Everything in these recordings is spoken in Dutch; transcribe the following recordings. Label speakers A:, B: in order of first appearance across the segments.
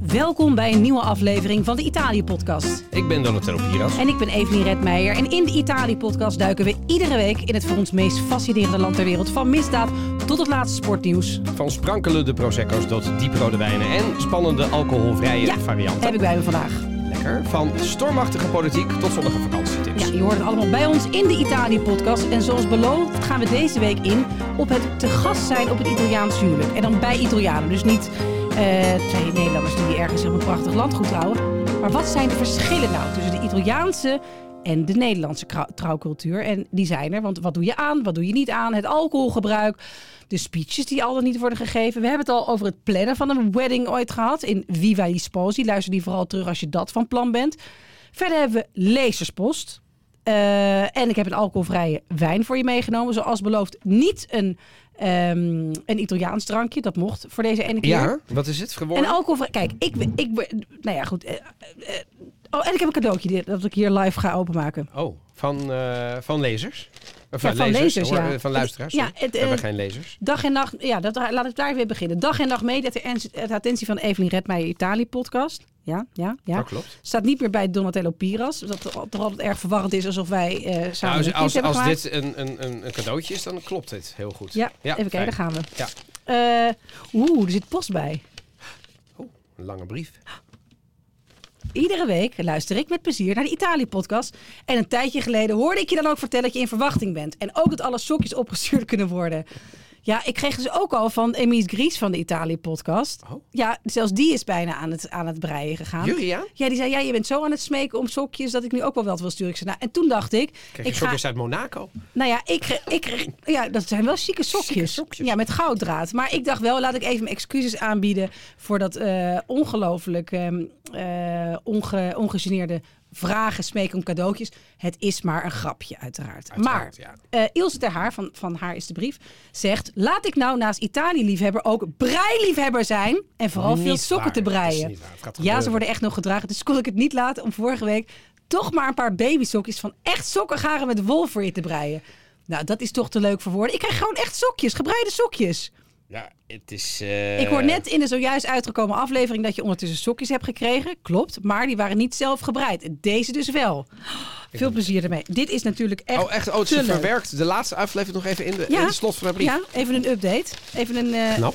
A: Welkom bij een nieuwe aflevering van de Italië-podcast.
B: Ik ben Donatello Piras.
A: En ik ben Evelien Redmeijer. En in de Italië-podcast duiken we iedere week in het voor ons meest fascinerende land ter wereld. Van misdaad tot het laatste sportnieuws.
B: Van sprankelende prosecco's tot dieprode wijnen en spannende alcoholvrije
A: Ja,
B: varianten.
A: Heb ik bij me vandaag.
B: Lekker. Van stormachtige politiek tot zonnige vakantietips.
A: Ja, je hoort het allemaal bij ons in de Italië-podcast. En zoals beloofd gaan we deze week in op het te gast zijn op het Italiaans huwelijk. En dan bij Italianen. Dus niet eh, twee Nederlanders die ergens op een prachtig landgoed trouwen. Maar wat zijn de verschillen nou tussen de Italiaanse en de Nederlandse krou- trouwcultuur? En die zijn er, want wat doe je aan, wat doe je niet aan? Het alcoholgebruik, de speeches die al dan niet worden gegeven. We hebben het al over het plannen van een wedding ooit gehad in Viva gli Sposi. Luister die vooral terug als je dat van plan bent. Verder hebben we lezerspost. Eh, en ik heb een alcoholvrije wijn voor je meegenomen. Zoals beloofd, niet een, ehm, een Italiaans drankje. Dat mocht voor deze ene keer.
B: Ja, wat is het
A: En
B: geworden?
A: alcoholvrij. Kijk, ik, ben- ik ben. Nou ja, goed. eh, eh, eh, oh, en ik heb een cadeautje die- dat ik hier live ga openmaken.
B: Oh, van, eh, van lezers? Of
A: Ja,
B: van,
A: van
B: lezers,
A: lezers,
B: hoor,
A: ja.
B: eh, van luisteraars.
A: Ja,
B: Ja,
A: het,
B: We hebben
A: eh,
B: geen lezers.
A: Dag en nacht. Ja, dat, laat ik daar weer beginnen. Dag en nacht mee. Dat de attentie van Evelien Redmeijer Italië podcast. Ja, ja, ja.
B: Dat klopt.
A: Staat niet meer bij Donatello Piras. Dat toch altijd erg verwarrend is alsof wij eh, samen.
B: Nou,
A: een
B: als
A: clip
B: als,
A: hebben
B: als
A: gemaakt.
B: dit een, een, een, een cadeautje is, dan klopt dit heel goed.
A: Ja, even kijken,
B: fijn.
A: daar gaan we.
B: Ja.
A: Eh, Oeh, er zit post bij.
B: Oh, een lange brief.
A: Iedere week luister ik met plezier naar de Italië-podcast. En een tijdje geleden hoorde ik je dan ook vertellen dat je in verwachting bent. En ook dat alle sokjes opgestuurd kunnen worden. Ja, ik kreeg dus ook al van Emies Gries van de Italië-podcast.
B: Oh.
A: Ja, zelfs die is bijna aan het, aan het breien gegaan.
B: Julia?
A: Ja, die zei, ja, je bent zo aan het smeken om sokjes dat ik nu ook wel wat wil sturen. Ik zei, nou, en toen dacht ik,
B: Kijk,
A: ik
B: een
A: ga,
B: sokjes uit Monaco.
A: nou ja, ik, kreeg- ik, kreeg- ja, dat zijn wel chique sokjes.
B: sokjes.
A: Ja, met gouddraad. Maar ik dacht wel, laat ik even mijn excuses aanbieden voor dat eh, ongelooflijk ehm, eh, onge, ongegeneerde vragen, smeken om cadeautjes. Het is maar een grapje, uiteraard.
B: Uiteraard,
A: maar
B: ja.
A: eh, Ilse ter Haar, van, van Haar is de brief, zegt... Laat ik nou naast Italië-liefhebber ook breiliefhebber zijn. En vooral veel
B: Niet
A: sokken
B: waar,
A: te
B: dat is
A: breien.
B: niet waar, het gaat
A: Ja, ze
B: gebeuren.
A: worden echt nog gedragen. Dus kon ik het niet laten om vorige week toch maar een paar babysokjes... van echt sokkengaren met wol voor je te breien. Nou, dat is toch te leuk voor woorden. Ik krijg gewoon echt sokjes, gebreide sokjes.
B: Ja, het is... eh,
A: Ik hoor net in de zojuist uitgekomen aflevering dat je ondertussen sokjes hebt gekregen. Klopt, maar die waren niet zelf gebreid. Deze dus wel. Veel plezier ermee. Dit is natuurlijk echt.
B: Oh, echt? Oh, het
A: te
B: is
A: leuk.
B: verwerkt. De laatste aflevering nog even in de, in de slot van de brief.
A: Ja, even een update. Even een. eh,
B: Knap.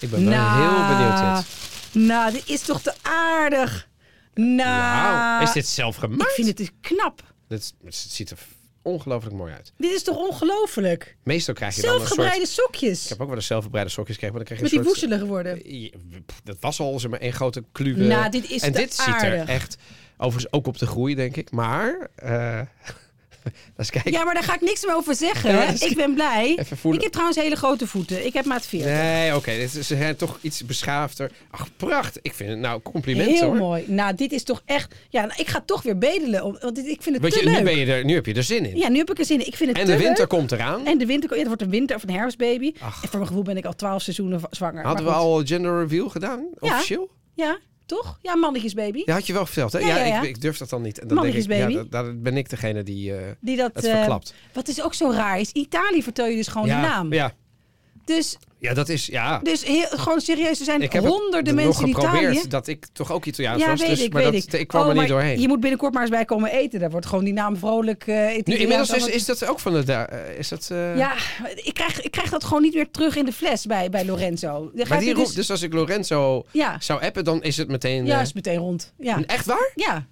B: Ik ben wel
A: nou,
B: heel benieuwd dit.
A: Nou, dit is toch te aardig. Nou,
B: Wauw, is dit zelf
A: Ik
B: gemaakt?
A: vind het dus knap.
B: Dit- Het ziet er ongelooflijk mooi uit.
A: Dit is toch ongelooflijk?
B: Meestal krijg je dan een soort...
A: Zelfbreide sokjes.
B: Ik heb ook wel eens zelfgebreide sokjes gekregen, maar dan
A: met
B: krijg je
A: die
B: een soort...
A: woezelige worden.
B: Ja, pff, Dat was al zo'n één grote kluwe.
A: Nou, dit is
B: en
A: te
B: dit ziet
A: aardig.
B: er echt... Overigens ook op de groei, denk ik. Maar... eh, laat eens kijken.
A: Ja, maar daar ga ik niks meer over zeggen.
B: Ja,
A: hè.
B: dat is-
A: ik ben blij.
B: Even voelen.
A: Ik heb trouwens hele grote voeten. Ik heb maat 4.
B: Nee, oké. dit is hè, toch iets beschaafder. Ach, pracht. Ik vind het nou complimenten
A: Heel
B: hoor.
A: mooi. Nou, dit is toch echt... Ja, nou, ik ga toch weer bedelen. om- Want dit, ik vind het
B: Want
A: te
B: je,
A: leuk.
B: nu, ben je er, nu heb je er zin in.
A: Ja, nu heb ik er zin in. Ik vind het
B: en
A: te
B: de winter
A: leuk.
B: komt eraan.
A: En de winter... Ja, het wordt een winter of een herfstbaby. En voor mijn gevoel ben ik al twaalf seizoenen v- zwanger.
B: Hadden we
A: Maar goed.
B: al gender reveal gedaan? Officieel?
A: Ja, toch? Ja, mannetjesbaby.
B: Ja, had je wel verteld, hè?
A: Ja,
B: Ja,
A: ja, ja.
B: Ik, ik durf dat dan niet. En dan
A: Mannetjes
B: denk ik,
A: baby.
B: ja, dat- daar ben ik degene die eh,
A: Die dat...
B: het
A: eh,
B: verklapt.
A: wat is ook zo raar is, Italië vertel je dus gewoon
B: ja,
A: de naam.
B: Ja,
A: Dus,
B: ja, dat is... Ja.
A: dus heel, gewoon serieus, er zijn
B: Ik heb het
A: honderden
B: nog
A: mensen in
B: geprobeerd
A: Italië...
B: dat ik toch ook Italiaans
A: Ja,
B: was.
A: weet
B: dus,
A: ik,
B: maar
A: weet
B: dat,
A: ik.
B: ik kwam
A: Oh,
B: er niet
A: maar
B: doorheen.
A: Je moet binnenkort maar eens bij komen eten. Daar wordt gewoon die naam vrolijk... eh
B: Nu,
A: Italiaans
B: inmiddels is,
A: allemaal-
B: is dat ook van de... da- eh, Is dat, eh,
A: Ja, ik krijg, ik krijg dat gewoon niet meer terug in de fles bij, bij Lorenzo. Dan
B: Maar
A: gaat
B: die
A: hij
B: roept,
A: dus,
B: dus... als ik Lorenzo
A: Ja.
B: zou appen, dan is het meteen...
A: ja,
B: eh,
A: is meteen rond. Ja.
B: Echt waar?
A: ja.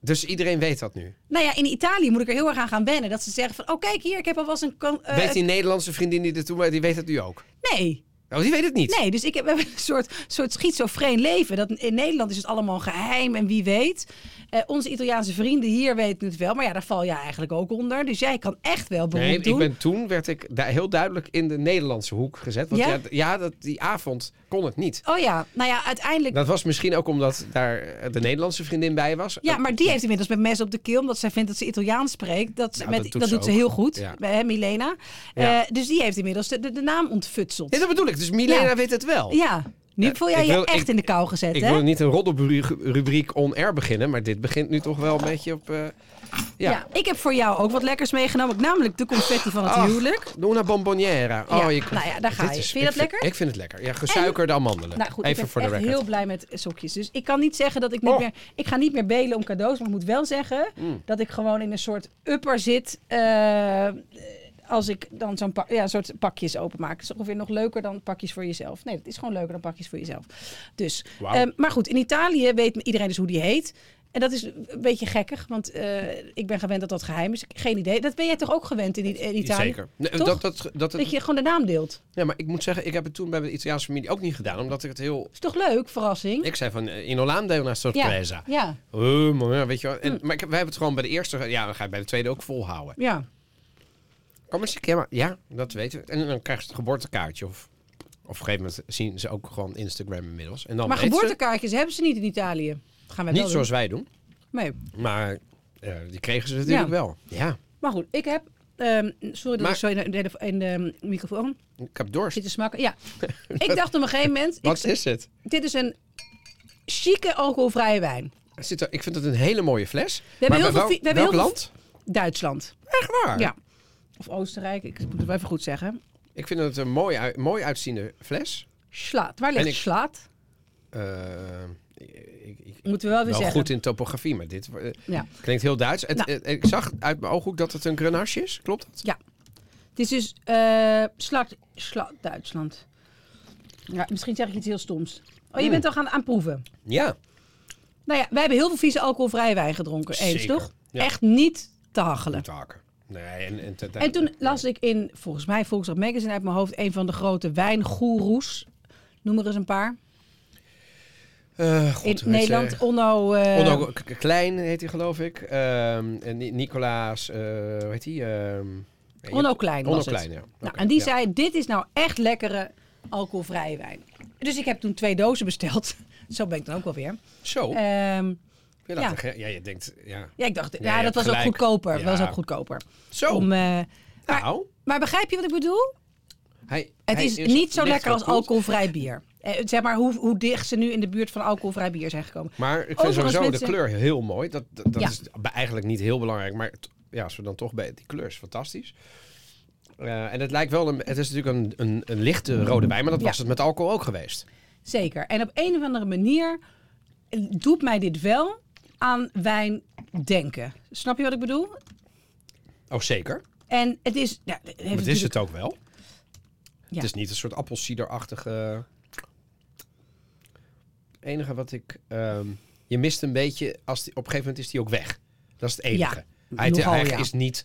B: Dus iedereen weet dat nu.
A: Nou ja, in Italië moet ik er heel erg aan gaan wennen. Dat ze zeggen van, oh kijk hier, ik heb alvast een... kan- eh,
B: weet die Nederlandse vriendin die dit toen maar die weet het nu ook.
A: Nee,
B: Oh, die weet het niet.
A: nee. Dus ik heb we hebben een soort, soort schizofreen leven. Dat in Nederland is het allemaal geheim en wie weet. Eh, onze Italiaanse vrienden hier weten het wel. Maar ja, daar val je eigenlijk ook onder. Dus jij kan echt wel beroep
B: Nee, ik
A: doen.
B: ben, toen werd ik daar heel duidelijk in de Nederlandse hoek gezet. Want
A: Ja?
B: ja, d- ja, dat, die avond kon het niet.
A: Oh ja, nou ja, uiteindelijk...
B: Dat was misschien ook omdat daar eh, de Nederlandse vriendin bij was. Eh,
A: Ja, maar die heeft inmiddels met mes op de keel, omdat zij vindt dat ze Italiaans spreekt. Dat, ze
B: Ja,
A: met, dat,
B: dat doet ze
A: doet ze
B: ook.
A: heel goed,
B: Ja.
A: bij hè, Milena.
B: Ja.
A: Eh, dus die heeft inmiddels de, de, de naam ontfutseld.
B: Nee, dat bedoel ik. Dus Milena
A: Ja.
B: weet het wel.
A: Ja, Nu voel jij
B: ik wil-
A: je echt
B: ik-
A: in de kou gezet,
B: Ik
A: hè?
B: wil niet een roddelrubriek on-air beginnen, maar dit begint nu toch wel een beetje op... eh,
A: ja.
B: ja.
A: ik heb voor jou ook wat lekkers meegenomen. Namelijk de confetti van het
B: Ach,
A: huwelijk.
B: Una bomboniera. Oh,
A: Ja,
B: je komt-
A: nou ja, daar ga
B: dit
A: je.
B: is-
A: Vind je dat
B: ik
A: lekker?
B: Ik vind het lekker. Ja, gesuikerde amandelen.
A: Nou goed,
B: Even
A: ik
B: voor
A: ben
B: de
A: echt
B: record.
A: heel blij met sokjes. Dus ik kan niet zeggen dat ik niet
B: Oh.
A: meer... Ik ga niet meer belen om cadeaus. Maar ik moet wel zeggen
B: Mm.
A: dat ik gewoon in een soort upper zit... eh, als ik dan zo'n pa- ja, soort pakjes openmaak. Het is ongeveer nog leuker dan pakjes voor jezelf. Nee, dat is gewoon leuker dan pakjes voor jezelf. Dus,
B: Wauw.
A: ehm, maar goed, in Italië weet iedereen dus hoe die heet. En dat is een beetje gekkig, want eh, ik ben gewend dat dat geheim is. Geen idee. Dat ben jij toch ook gewend in, I- in Italië?
B: Zeker. Nee,
A: Toch?
B: dat, dat, dat,
A: Dat je gewoon de naam deelt.
B: ja, maar ik moet zeggen, ik heb het toen bij mijn Italiaanse familie ook niet gedaan. Omdat ik het heel...
A: Is toch leuk? Verrassing.
B: Ik zei van, eh, in Hollande una sorpresa.
A: Ja, Mm.
B: Oh, maar, weet je wel. En, Maar ik, wij hebben het gewoon bij de eerste... Ja, dan ga je bij de tweede ook volhouden.
A: ja.
B: Kom eens, ja, maar, ja, dat weten we. En dan krijg je het geboortekaartje. Of, of op een gegeven moment zien ze ook gewoon Instagram inmiddels. En dan
A: Maar
B: weten ze-
A: geboortekaartjes hebben ze niet in Italië. Dat gaan wij
B: Niet
A: wel
B: zoals wij doen.
A: doen. Nee.
B: Maar eh, die kregen ze natuurlijk
A: Ja.
B: wel. Ja.
A: Maar goed, ik heb... ehm, sorry dat
B: Maar-
A: ik zo in de, in de- in de microfoon
B: Ik heb dorst.
A: zit te smakken. Ja. ik dacht op een gegeven moment...
B: Wat
A: ik,
B: is het?
A: dit is een chique alcoholvrije wijn.
B: Er zit er- ik vind het een hele mooie fles. We
A: hebben heel veel fi- we hebben
B: welk
A: heel veel-
B: land?
A: Duitsland.
B: Echt waar?
A: Ja. Of Oostenrijk. Ik moet het wel even goed zeggen.
B: Ik vind het een mooi, ui- mooi uitziende fles.
A: Slaat. Waar
B: En
A: ligt
B: ik-
A: Slaat?
B: Eh, ik, ik,
A: Moeten we wel weer
B: wel
A: zeggen.
B: goed in topografie, maar dit wo- eh,
A: Ja.
B: klinkt heel Duits. Het,
A: Nou.
B: eh, ik zag uit mijn ooghoek dat het een Grenache is. Klopt dat?
A: Het is dus eh Slaat, Slaat Duitsland. Ja, misschien zeg ik iets heel stoms. Oh, je
B: Mm.
A: bent al gaan aan proeven.
B: Ja.
A: Nou ja, wij hebben heel veel vieze alcoholvrije wijn gedronken. Eens
B: Zeker,
A: toch?
B: ja.
A: Echt niet te hachelen.
B: Moet haken. Nee, en, en,
A: En toen las ik in, volgens mij, Volkswagen Magazine uit mijn hoofd... een van de grote wijngoeroes. Noem er eens een paar.
B: Eh, God,
A: in
B: weet je,
A: Nederland, Onno... eh,
B: Onno K- K- Klein heet hij, geloof ik. Ehm, en Ni- Nicolaas, eh, hoe heet hij? Ehm,
A: Onno Klein was
B: Onno
A: het.
B: Klein, ja.
A: Nou,
B: Oké,
A: en die
B: ja.
A: zei, dit is nou echt lekkere alcoholvrije wijn. Dus ik heb toen twee dozen besteld. Zo ben ik dan ook wel weer.
B: Zo,
A: Ehm,
B: je laat
A: ja.
B: er ge- ja, je denkt, ja.
A: ja, ik dacht,
B: je
A: ja, dat
B: hebt
A: was ook
B: gelijk.
A: goedkoper.
B: Ja. Oh.
A: Dat was ook goedkoper.
B: Zo,
A: Om, eh,
B: nou.
A: maar begrijp je wat ik bedoel?
B: Hij,
A: Het
B: hij
A: is, niet zo
B: licht
A: lekker als
B: gekoeld,
A: alcoholvrij bier. Eh, zeg maar hoe, hoe dicht ze nu in de buurt van alcoholvrij bier zijn gekomen.
B: Maar ik vind
A: Overigens,
B: sowieso
A: mensen-
B: de kleur heel mooi. Dat, dat, dat
A: Ja.
B: is bij- eigenlijk niet heel belangrijk. Maar t- ja, als we dan toch bij die kleur is fantastisch. Eh, en het lijkt wel, een, het is natuurlijk een, een, een lichte rode wijn, maar dat
A: Ja.
B: was het met alcohol ook geweest.
A: Zeker. En op een of andere manier eh, doet mij dit wel aan wijn denken. Snap je wat ik bedoel?
B: Oh, zeker.
A: En het is... Ja, het heeft
B: Maar het is
A: natuurlijk-
B: het ook wel.
A: Ja.
B: Het is niet een soort appelsiederachtige... Het enige wat ik... ehm, je mist een beetje, als die, op een gegeven moment is die ook weg. Dat is het enige. hij
A: nogal,
B: hij
A: ja.
B: is niet...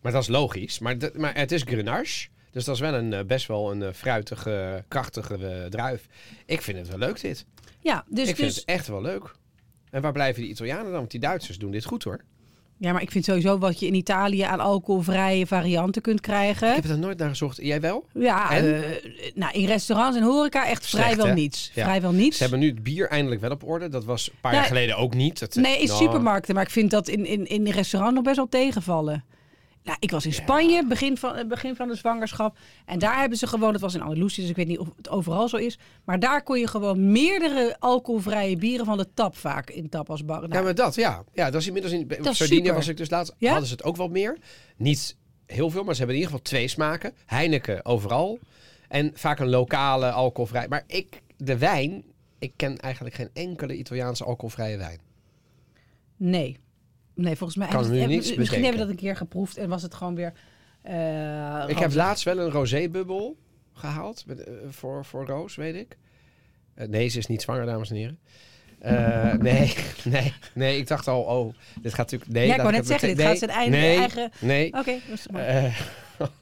B: Maar dat is logisch. Maar, dat- maar het is Grenache. Dus dat is wel een, eh, best wel een eh, fruitige, krachtige eh, druif. Ik vind het wel leuk dit.
A: Ja, dus,
B: ik vind
A: dus
B: het echt wel leuk. En waar blijven die Italianen dan? Want die Duitsers doen dit goed hoor.
A: Ja, maar ik vind sowieso wat je in Italië aan alcoholvrije varianten kunt
B: Ik
A: krijgen.
B: heb er nooit naar gezocht. Jij wel?
A: Ja,
B: En?
A: eh, nou, in restaurants en horeca echt
B: Slecht,
A: vrijwel
B: hè?
A: niets.
B: Ja.
A: Vrijwel niets.
B: Ze hebben nu het bier eindelijk wel op orde. Dat was een paar
A: Nou,
B: jaar geleden ook niet. Dat,
A: Nee, in
B: Nou,
A: supermarkten. Maar ik vind dat in, in, in een restaurant nog best wel tegenvallen. Nou, ik was in Spanje, begin van, eh, begin van de zwangerschap. En daar hebben ze gewoon, het was in Andalusië, dus ik weet niet of het overal zo is. Maar daar kon je gewoon meerdere alcoholvrije bieren van de tap vaak in tap als bar. Nou,
B: Ja, maar dat, ja. Ja, dat is inmiddels in
A: is
B: Sardinië
A: super.
B: was ik dus laatst.
A: Ja?
B: Hadden ze het ook wat meer. Niet heel veel, maar ze hebben in ieder geval twee smaken. Heineken overal. En vaak een lokale alcoholvrij. Maar ik, de wijn, ik ken eigenlijk geen enkele Italiaanse alcoholvrije wijn.
A: Nee. Nee, volgens mij
B: Kan
A: hebben ze-
B: nu
A: hebben-
B: niets
A: Misschien
B: bedenken.
A: hebben we dat een keer geproefd en was het gewoon weer... eh,
B: Ik heb
A: ranzig.
B: laatst wel een rosébubbel gehaald met, eh, voor, voor Roos, weet ik. Eh, nee, ze is niet zwanger, dames en heren. Eh, nee, nee, nee, ik dacht al, oh, dit gaat natuurlijk... Nee,
A: Ja, ik
B: laat
A: wou net
B: het
A: zeggen,
B: meteen-
A: dit gaat zijn
B: nee,
A: eigen-
B: nee,
A: eigen-
B: Nee,
A: Oké, rustig maar.
B: Eh,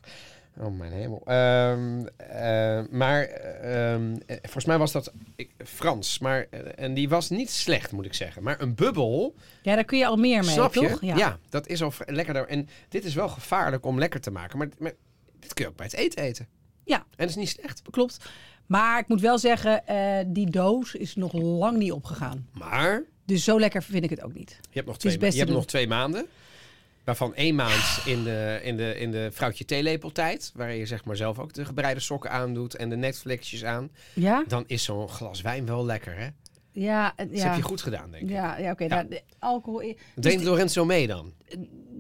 B: oh mijn hemel. Ehm, eh, maar ehm, eh, volgens mij was dat ik- Frans. Maar, eh, en die was niet slecht, moet ik zeggen. Maar een bubbel,
A: ja, daar kun je al meer mee,
B: snap
A: toch?
B: je? Ja. dat is al vri- lekkerder. En dit is wel gevaarlijk om lekker te maken. Maar, maar dit kun je ook bij het eten eten.
A: Ja.
B: En dat is niet slecht.
A: klopt. Maar ik moet wel zeggen, eh, die doos is nog lang niet opgegaan.
B: Maar
A: Dus zo lekker vind ik het ook niet.
B: je hebt nog
A: is
B: twee, ma-
A: best
B: je
A: te
B: hebt
A: doen.
B: nog twee maanden. Waarvan één maand in de, in de, in de vrouwtje theelepeltijd. Waar je zeg maar zelf ook de gebreide sokken aandoet en de Netflixjes aan.
A: Ja?
B: Dan is zo'n glas wijn wel lekker, hè?
A: Ja, en-
B: Dat Dus heb
A: ja.
B: je goed gedaan, denk ik.
A: Ja, Dus ja oké.
B: Ja.
A: nou, de alcohol. i-
B: Wat deed Lorenzo mee dan?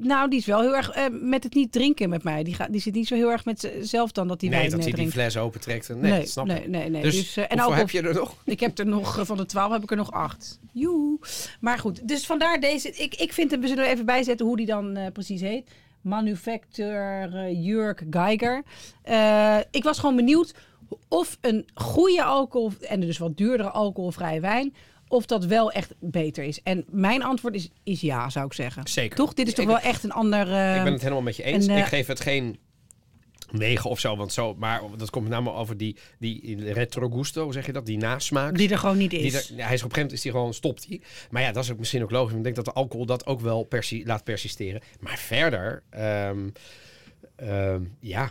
A: Nou, die is wel heel erg eh, met het niet drinken met mij. Die, gaat, die zit niet zo heel erg met zelf dan dat die
B: nee,
A: wijn
B: dat
A: eh,
B: hij die
A: drinkt.
B: fles opentrekt. en- Nee, dat snap ik.
A: nee, nee, nee.
B: Dus,
A: eh, en
B: hoeveel
A: alcohol,
B: heb je er nog?
A: ik heb er nog eh, van de 12 heb ik er nog acht. Joe. Maar goed, dus vandaar deze. Ik, ik vind hem, we zullen er even bijzetten hoe die dan eh, precies heet. Manufacturer eh, Jurk Geiger. Eh, ik was gewoon benieuwd of een goede alcohol en dus wat duurdere alcoholvrije wijn, of dat wel echt beter is. En mijn antwoord is, is ja, zou ik zeggen.
B: Zeker.
A: Toch? Dit is toch
B: Ik-
A: wel echt een ander. eh,
B: ik ben het helemaal met je eens.
A: en, eh,
B: ik geef het geen 9 of zo, want zo, maar dat komt namelijk over die, die retro gusto, hoe zeg je dat? Die nasmaak.
A: die er gewoon niet is.
B: Die er- ja, hij is op een gegeven moment is die gewoon, stopt hij. Maar ja, dat is ook misschien ook logisch. want Ik denk dat de alcohol dat ook wel persi laat persisteren. Maar verder, ehm, ehm, ja,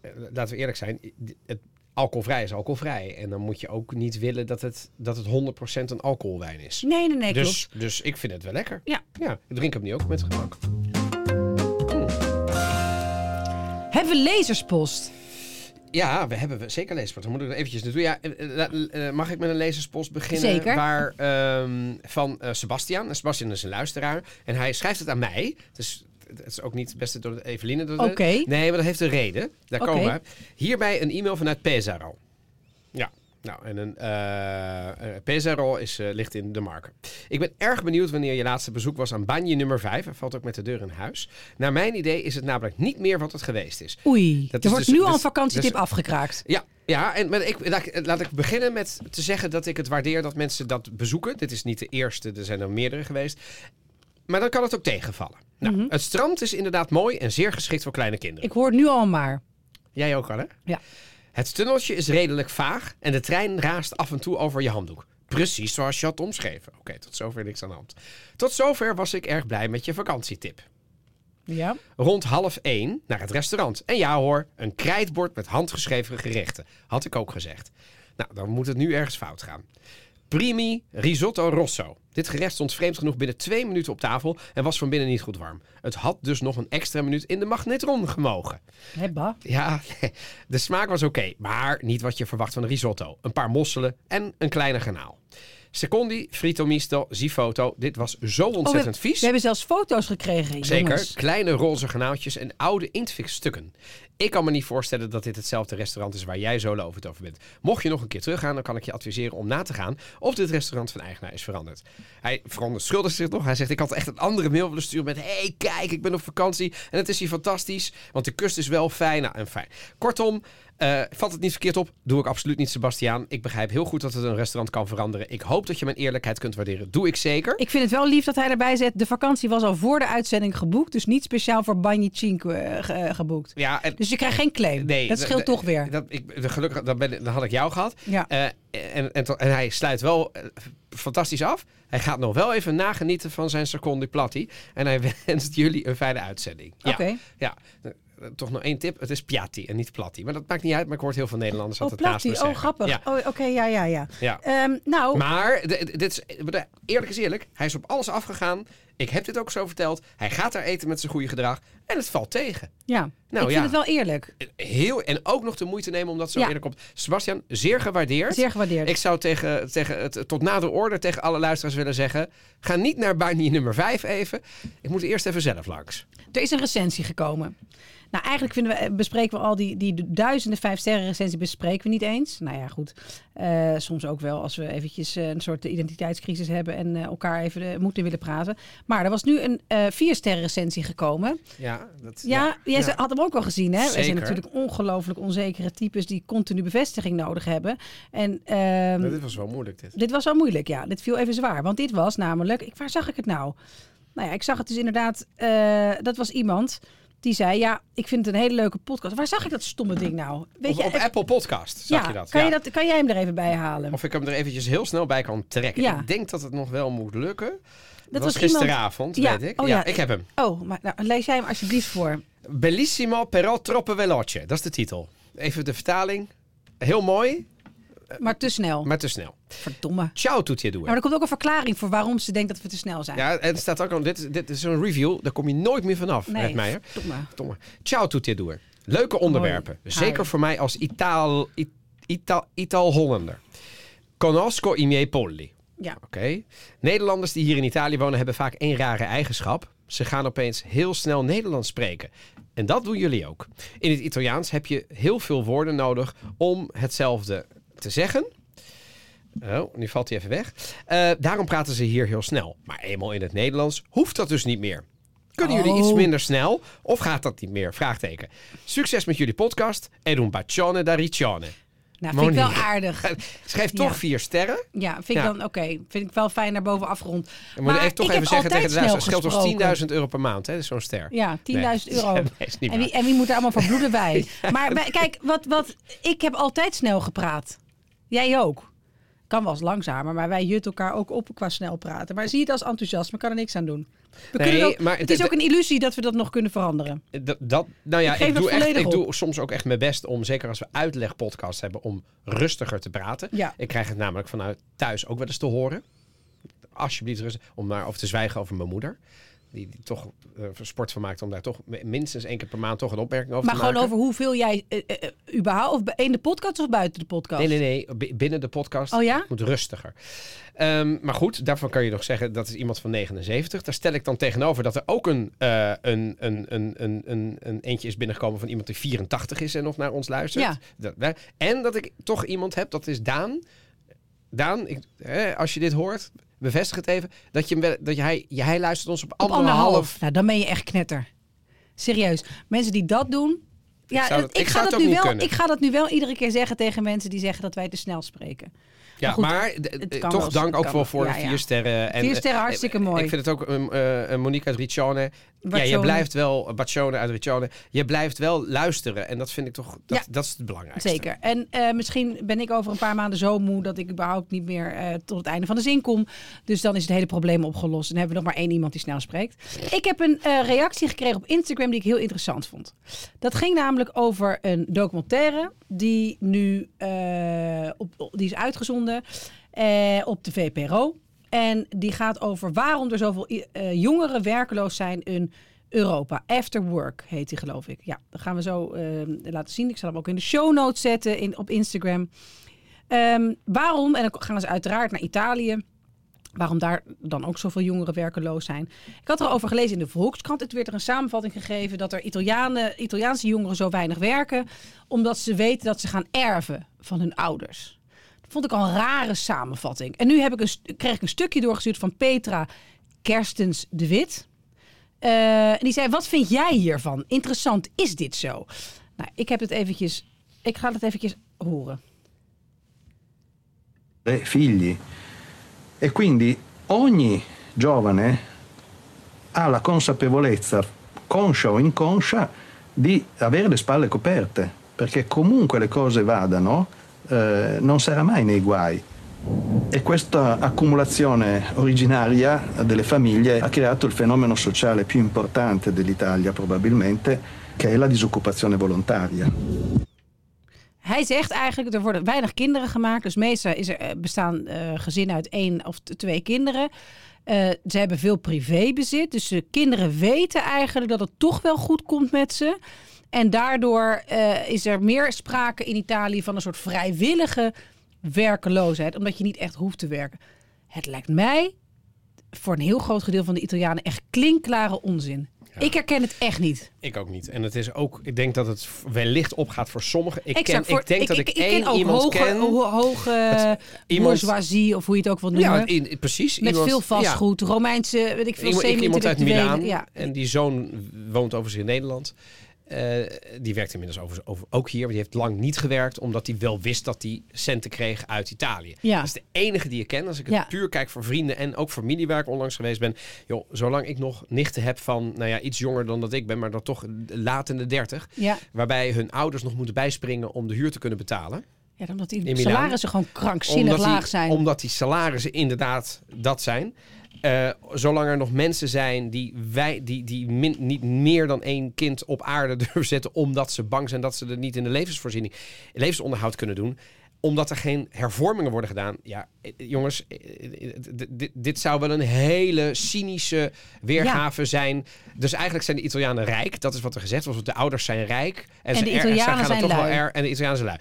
B: eh, laten we eerlijk zijn. Het alcoholvrij is alcoholvrij. En dan moet je ook niet willen dat het, dat het 100% een alcoholwijn is.
A: Nee, nee, nee. klopt.
B: Dus, dus ik vind het wel lekker.
A: Ja.
B: Ja, ik drink hem nu ook met gemak.
A: Hebben we lezerspost?
B: Ja, we hebben we- zeker lezerspost. Dan moet ik er eventjes naartoe. Ja, eh, eh, la- eh, mag ik met een lezerspost beginnen?
A: Zeker.
B: Waar, ehm, van eh, Sebastian. En Sebastian is een luisteraar. En hij schrijft het aan mij. Dus het is ook niet het beste door Eveline. dat-
A: Oké.
B: Nee, maar dat heeft een reden. Daar
A: Oké.
B: komen we. Hierbij een e-mail vanuit Pesaro. Ja. Nou, en een eh eh, Pesaro is, eh, ligt in de marken. Ik ben erg benieuwd wanneer je laatste bezoek was aan banje nummer 5. Hij valt ook met de deur in huis. Naar mijn idee is het namelijk niet meer wat het geweest is.
A: Oei,
B: Dat
A: er
B: is
A: wordt
B: dus-
A: nu al een
B: dus-
A: vakantietip
B: dus-
A: afgekraakt.
B: Ja, ja en, maar ik, laat, ik- laat ik beginnen met te zeggen dat ik het waardeer dat mensen dat bezoeken. Dit is niet de eerste, er zijn er meerdere geweest. Maar dan kan het ook tegenvallen. Nou, Het strand is inderdaad mooi en zeer geschikt voor kleine kinderen.
A: Ik hoor het nu al maar.
B: Jij ook al, hè?
A: Ja.
B: Het tunneltje is redelijk vaag en de trein raast af en toe over je handdoek. Precies zoals je had omschreven. Oké, tot zover niks aan de hand. Tot zover was ik erg blij met je vakantietip
A: Ja.
B: rond half één naar het restaurant. En ja hoor, een krijtbord met handgeschreven gerechten. Had ik ook gezegd. Nou, dan moet het nu ergens fout gaan. Primi risotto rosso. Dit gerecht stond vreemd genoeg binnen twee minuten op tafel en was van binnen niet goed warm. Het had dus nog een extra minuut in de magnetron gemogen.
A: Hebba.
B: Ja, de smaak was oké, maar niet wat je verwacht van een risotto. Een paar mosselen en een kleine garnaal. Secondi, frito misto, zifoto. Dit was zo ontzettend
A: Oh, we,
B: vies.
A: We hebben zelfs foto's gekregen.
B: Zeker.
A: jongens.
B: Kleine roze granaaltjes en oude inktvisstukken. Ik kan me niet voorstellen dat dit hetzelfde restaurant is waar jij zo lovend over bent. Mocht je nog een keer teruggaan, dan kan ik je adviseren om na te gaan of dit restaurant van eigenaar is veranderd. Hij verontschuldigt zich nog. Hij zegt: Ik had echt een andere mail willen sturen met: hey, kijk, ik ben op vakantie en het is hier fantastisch, want de kust is wel fijn. Nou, en fijn. Kortom, eh, vat het niet verkeerd op. Doe ik absoluut niet, Sebastiaan. Ik begrijp heel goed dat het een restaurant kan veranderen. Ik hoop dat je mijn eerlijkheid kunt waarderen. Doe ik zeker.
A: Ik vind het wel lief dat hij erbij zet. De vakantie was al voor de uitzending geboekt. Dus niet speciaal voor Banyi Chink eh, ge- eh, geboekt.
B: Ja, en
A: Dus je krijgt geen claim.
B: Nee,
A: dat scheelt
B: d- d-
A: toch weer.
B: Dat, ik, de- gelukkig, dan, ben, ik- dan had ik jou gehad.
A: Ja.
B: Eh, en, en, to- en hij sluit wel eh, fantastisch af. Hij gaat nog wel even nagenieten van zijn secondi platti. En hij wenst jullie een fijne uitzending. Ja.
A: Oké.
B: ja. Eh, eh, Toch nog één tip. Het is piatti en niet platti. Maar dat maakt niet uit. Maar ik hoor het heel veel Nederlanders
A: oh,
B: altijd naast
A: Platti.
B: me
A: Oh,
B: zeggen.
A: grappig.
B: Ja.
A: Oh, Oké, ja, ja, ja.
B: Ja.
A: Ehm, nou,
B: Maar, d- d- dit is, eh, eerlijk is eerlijk. Hij is op alles afgegaan. Ik heb dit ook zo verteld. Hij gaat daar eten met zijn goede gedrag. En het valt tegen.
A: ja. ik vind
B: Nou, ja.
A: het wel eerlijk.
B: heel en ook nog de moeite nemen omdat zo
A: Ja.
B: eerlijk komt. Sebastian, zeer gewaardeerd.
A: Zeer gewaardeerd.
B: Ik zou tegen, tegen het tot nader orde tegen alle luisteraars willen zeggen: ga niet naar Barnier nummer 5 even. Ik moet eerst even zelf langs.
A: Er is een recensie gekomen. Nou, eigenlijk vinden we, eh, bespreken we al die, die duizenden vijf sterren recensie bespreken we niet eens. Nou ja, goed. Eh, soms ook wel als we eventjes eh, een soort identiteitscrisis hebben en eh, elkaar even eh, moeten willen praten. Maar er was nu een eh vier sterren recensie gekomen.
B: Ja, dat,
A: Ja, jij ze- had hem ook al gezien, hè? Er zijn
B: Zeker.
A: natuurlijk ongelooflijk onzekere types die continu bevestiging nodig hebben. En ehm,
B: dit was wel moeilijk. Dit.
A: dit was wel moeilijk, ja. Dit viel even zwaar. Want dit was namelijk... Ik, waar zag ik het nou? Nou ja, ik zag het dus inderdaad... eh, dat was iemand die zei... Ja, ik vind het een hele leuke podcast. Waar zag ik dat stomme ding nou? Weet
B: Op,
A: je,
B: op
A: eh,
B: Apple Podcast zag
A: ja,
B: je dat.
A: Kan,
B: ja.
A: Je dat, kan jij hem er even bij halen?
B: Of ik hem er eventjes heel snel bij kan trekken.
A: Ja.
B: Ik denk dat het nog wel moet lukken. Dat,
A: was
B: was
A: iemand-
B: gisteravond,
A: Ja,
B: weet ik.
A: oh ja.
B: ja, ik heb hem.
A: Oh, maar nou, lees jij hem alsjeblieft voor.
B: Bellissimo però troppo veloce. Dat is de titel. Even de vertaling. Heel mooi.
A: Maar te snel.
B: Eh, Maar te snel.
A: Verdomme.
B: Ciao tutti e
A: Maar
B: due.
A: er komt ook een verklaring voor waarom ze denkt dat we te snel zijn.
B: Ja, en het staat ook al, dit, is- dit is een review, daar kom je nooit meer vanaf,
A: nee,
B: Red Meijer.
A: verdomme.
B: Verdomme. Ciao tutti e due. Leuke onderwerpen.
A: Hoi.
B: Zeker
A: Hi.
B: voor mij als Itaal, It- Ita- Itaal-Hollander. Conosco i miei polli.
A: Ja.
B: Oké. Nederlanders die hier in Italië wonen hebben vaak één rare eigenschap. Ze gaan opeens heel snel Nederlands spreken. En dat doen jullie ook. In het Italiaans heb je heel veel woorden nodig om hetzelfde te zeggen. Oh, nu valt hij even weg. Eh, daarom praten ze hier heel snel. Maar eenmaal in het Nederlands hoeft dat dus niet meer. Kunnen jullie iets
A: Oh.
B: minder snel of gaat dat niet meer? Vraagteken. Succes met jullie podcast. En un bacione da riccione.
A: Nou, vind ik wel
B: Monique.
A: aardig.
B: Schrijf toch
A: Ja.
B: vier sterren.
A: Ja, vind ik
B: Ja.
A: dan oké. Vind ik wel fijn naar boven afgerond.
B: Ja, Maar, even toch
A: ik
B: even
A: heb
B: zeggen
A: altijd
B: tegen de
A: snel
B: luisteraar. Het scheelt
A: gesproken.
B: ons 10.000 euro per maand, hè? Zo'n ster.
A: Ja, 10.000
B: Nee,
A: euro.
B: nee, is niet
A: en, wie,
B: waar.
A: en wie moet er allemaal voor bloeden bij? Maar wij- kijk, wat, wat, ik heb altijd snel gepraat. Jij ook. Kan wel eens langzamer, maar wij jutten elkaar ook op qua snel praten. Maar zie het als enthousiasme, kan er niks aan doen. We
B: Nee,
A: kunnen ook,
B: maar
A: het
B: de-
A: is ook een illusie dat we dat nog kunnen veranderen.
B: Dat, dat, nou
A: Ik
B: ja, ik,
A: geef het
B: doe, echt,
A: volledig
B: ik
A: op.
B: doe soms ook echt mijn best om, zeker als we uitlegpodcasts hebben, om rustiger te praten.
A: Ja.
B: Ik krijg het namelijk vanuit thuis ook wel eens te horen. Alsjeblieft rustig, om daarover te zwijgen over mijn moeder. Die, die toch eh, er sport van maakt om daar toch mi- minstens één keer per maand toch een opmerking over
A: Maar
B: te
A: gewoon
B: maken.
A: over hoeveel jij eh, eh, eh, überhaupt, of in de podcast of buiten de podcast?
B: Nee, nee, nee. b- Binnen de podcast
A: Oh ja?
B: Het moet rustiger. Ehm, maar goed, daarvan kan je nog zeggen dat is iemand van 79. Daar stel ik dan tegenover dat er ook een, eh, een, een, een, een, een, een eentje is binnengekomen van iemand die 84 is en nog naar ons luistert.
A: Ja.
B: Dat, hè. en dat ik toch iemand heb, dat is Daan. Daan, ik, hè, als je dit hoort, bevestig het even. Dat, je, hem wel- dat je, hij, je, hij luistert ons op
A: Op
B: anderhalf.
A: anderhalf. Nou, dan ben je echt knetter. Serieus. Mensen die dat doen. Ja,
B: zou
A: dat-
B: dat- ik
A: ga
B: zou het
A: dat
B: ook
A: nu
B: niet
A: wel,
B: kunnen.
A: ik ga dat nu wel iedere keer zeggen tegen mensen die zeggen dat wij te snel spreken.
B: Ja,
A: Maar goed,
B: maar, d-
A: het
B: d-
A: kan
B: toch
A: wel, het
B: dank ook
A: kan
B: wel
A: wel.
B: voor de
A: Ja, ja.
B: vier sterren. En,
A: Vier
B: eh,
A: sterren, hartstikke
B: eh,
A: mooi.
B: Ik vind het ook um, eh, eh, Monique uit Riccione. Ja, je
A: Riccione.
B: blijft wel, Baccione uit Riccione. Je blijft wel luisteren. En dat vind ik toch, dat,
A: Ja.
B: dat is het belangrijkste.
A: Zeker. En eh, misschien ben ik over een paar maanden zo moe dat ik überhaupt niet meer eh, tot het einde van de zin kom. Dus dan is het hele probleem opgelost. En hebben we nog maar één iemand die snel spreekt. Ik heb een eh, reactie gekregen op Instagram die ik heel interessant vond. Dat ging namelijk over een documentaire die nu eh, op, die is uitgezonden eh, op de VPRO. En die gaat over waarom er zoveel i- eh, jongeren werkloos zijn in Europa. After Work heet die, geloof ik. Ja, dat gaan we zo ehm, laten zien. Ik zal hem ook in de show notes zetten in, op Instagram. Ehm, waarom, en dan gaan ze uiteraard naar Italië. Waarom daar dan ook zoveel jongeren werkeloos zijn. Ik had erover gelezen in de Volkskrant. Het werd er een samenvatting gegeven dat er Italianen, Italiaanse jongeren zo weinig werken. Omdat ze weten dat ze gaan erven van hun ouders. Dat vond ik al een rare samenvatting. En nu heb ik een, st- kreeg ik een stukje doorgestuurd van Petra Kerstens de Wit. Eh, en die zei: Wat vind jij hiervan? Interessant is dit zo? Nou, ik heb het eventjes. Ik ga het eventjes horen.
C: tre figli e quindi ogni giovane ha la consapevolezza, conscia o inconscia, di avere le spalle coperte, perché comunque le cose vadano eh, non sarà mai nei guai. E questa accumulazione originaria delle famiglie ha creato il fenomeno sociale più importante dell'Italia probabilmente, che è la disoccupazione volontaria.
A: Hij zegt eigenlijk: Er worden weinig kinderen gemaakt. Dus meestal is er, eh, bestaan eh, gezinnen uit één of t- twee kinderen. Eh, ze hebben veel privébezit. Dus de kinderen weten eigenlijk dat het toch wel goed komt met ze. En daardoor eh, is er meer sprake in Italië van een soort vrijwillige werkeloosheid. Omdat je niet echt hoeft te werken. Het lijkt mij voor een heel groot gedeelte van de Italianen echt klinkklare onzin. Ik herken het echt niet.
B: Ik ook niet. En het is ook, ik denk dat het v- wellicht opgaat voor sommigen. Ik,
A: Exact,
B: ken,
A: voor-
B: ik denk dat ik,
A: ken
B: één
A: ook
B: iemand
A: hoge,
B: ken.
A: ho- hoge eh,
B: iemand- Nou
A: bourgeoisie, of hoe je het ook wil noemen.
B: ja, in- in- precies.
A: met
B: iemand-
A: veel
B: ja.
A: vastgoed, Romeinse, weet ik veel,
B: Iemand, ik- iemand uit
A: semi-intellectuelen,
B: Milaan.
A: Ja.
B: En die zoon woont overigens in Nederland. Eh, die werkt inmiddels over, over, ook hier. Maar die heeft lang niet gewerkt. Omdat hij wel wist dat hij centen kreeg uit Italië.
A: Ja.
B: Dat is de enige die ik ken. Als ik
A: Ja.
B: het puur kijk voor vrienden en ook familie waar ik onlangs geweest ben. Joh, zolang ik nog nichten heb van nou ja, iets jonger dan dat ik ben. Maar dan toch laat in de dertig.
A: Ja.
B: Waarbij hun ouders nog moeten bijspringen om de huur te kunnen betalen.
A: ja, omdat die
B: Milaan.
A: salarissen gewoon krankzinnig
B: Omdat die-
A: laag zijn.
B: Omdat die salarissen inderdaad dat zijn. Eh, zolang er nog mensen zijn die, wij, die, die min- niet meer dan één kind op aarde durven zetten. omdat ze bang zijn dat ze er niet in de levensvoorziening, levensonderhoud kunnen doen. omdat er geen hervormingen worden gedaan. Ja, eh, jongens, eh, dit- dit- dit zou wel een hele cynische weergave zijn. Dus eigenlijk zijn de Italianen rijk. Dat is wat er gezegd was. want De ouders zijn rijk. En,
A: de
B: ze er-
A: Italianen
B: ze gaan er
A: zijn
B: toch wel
A: lui.
B: er- En de Italianen zijn lui.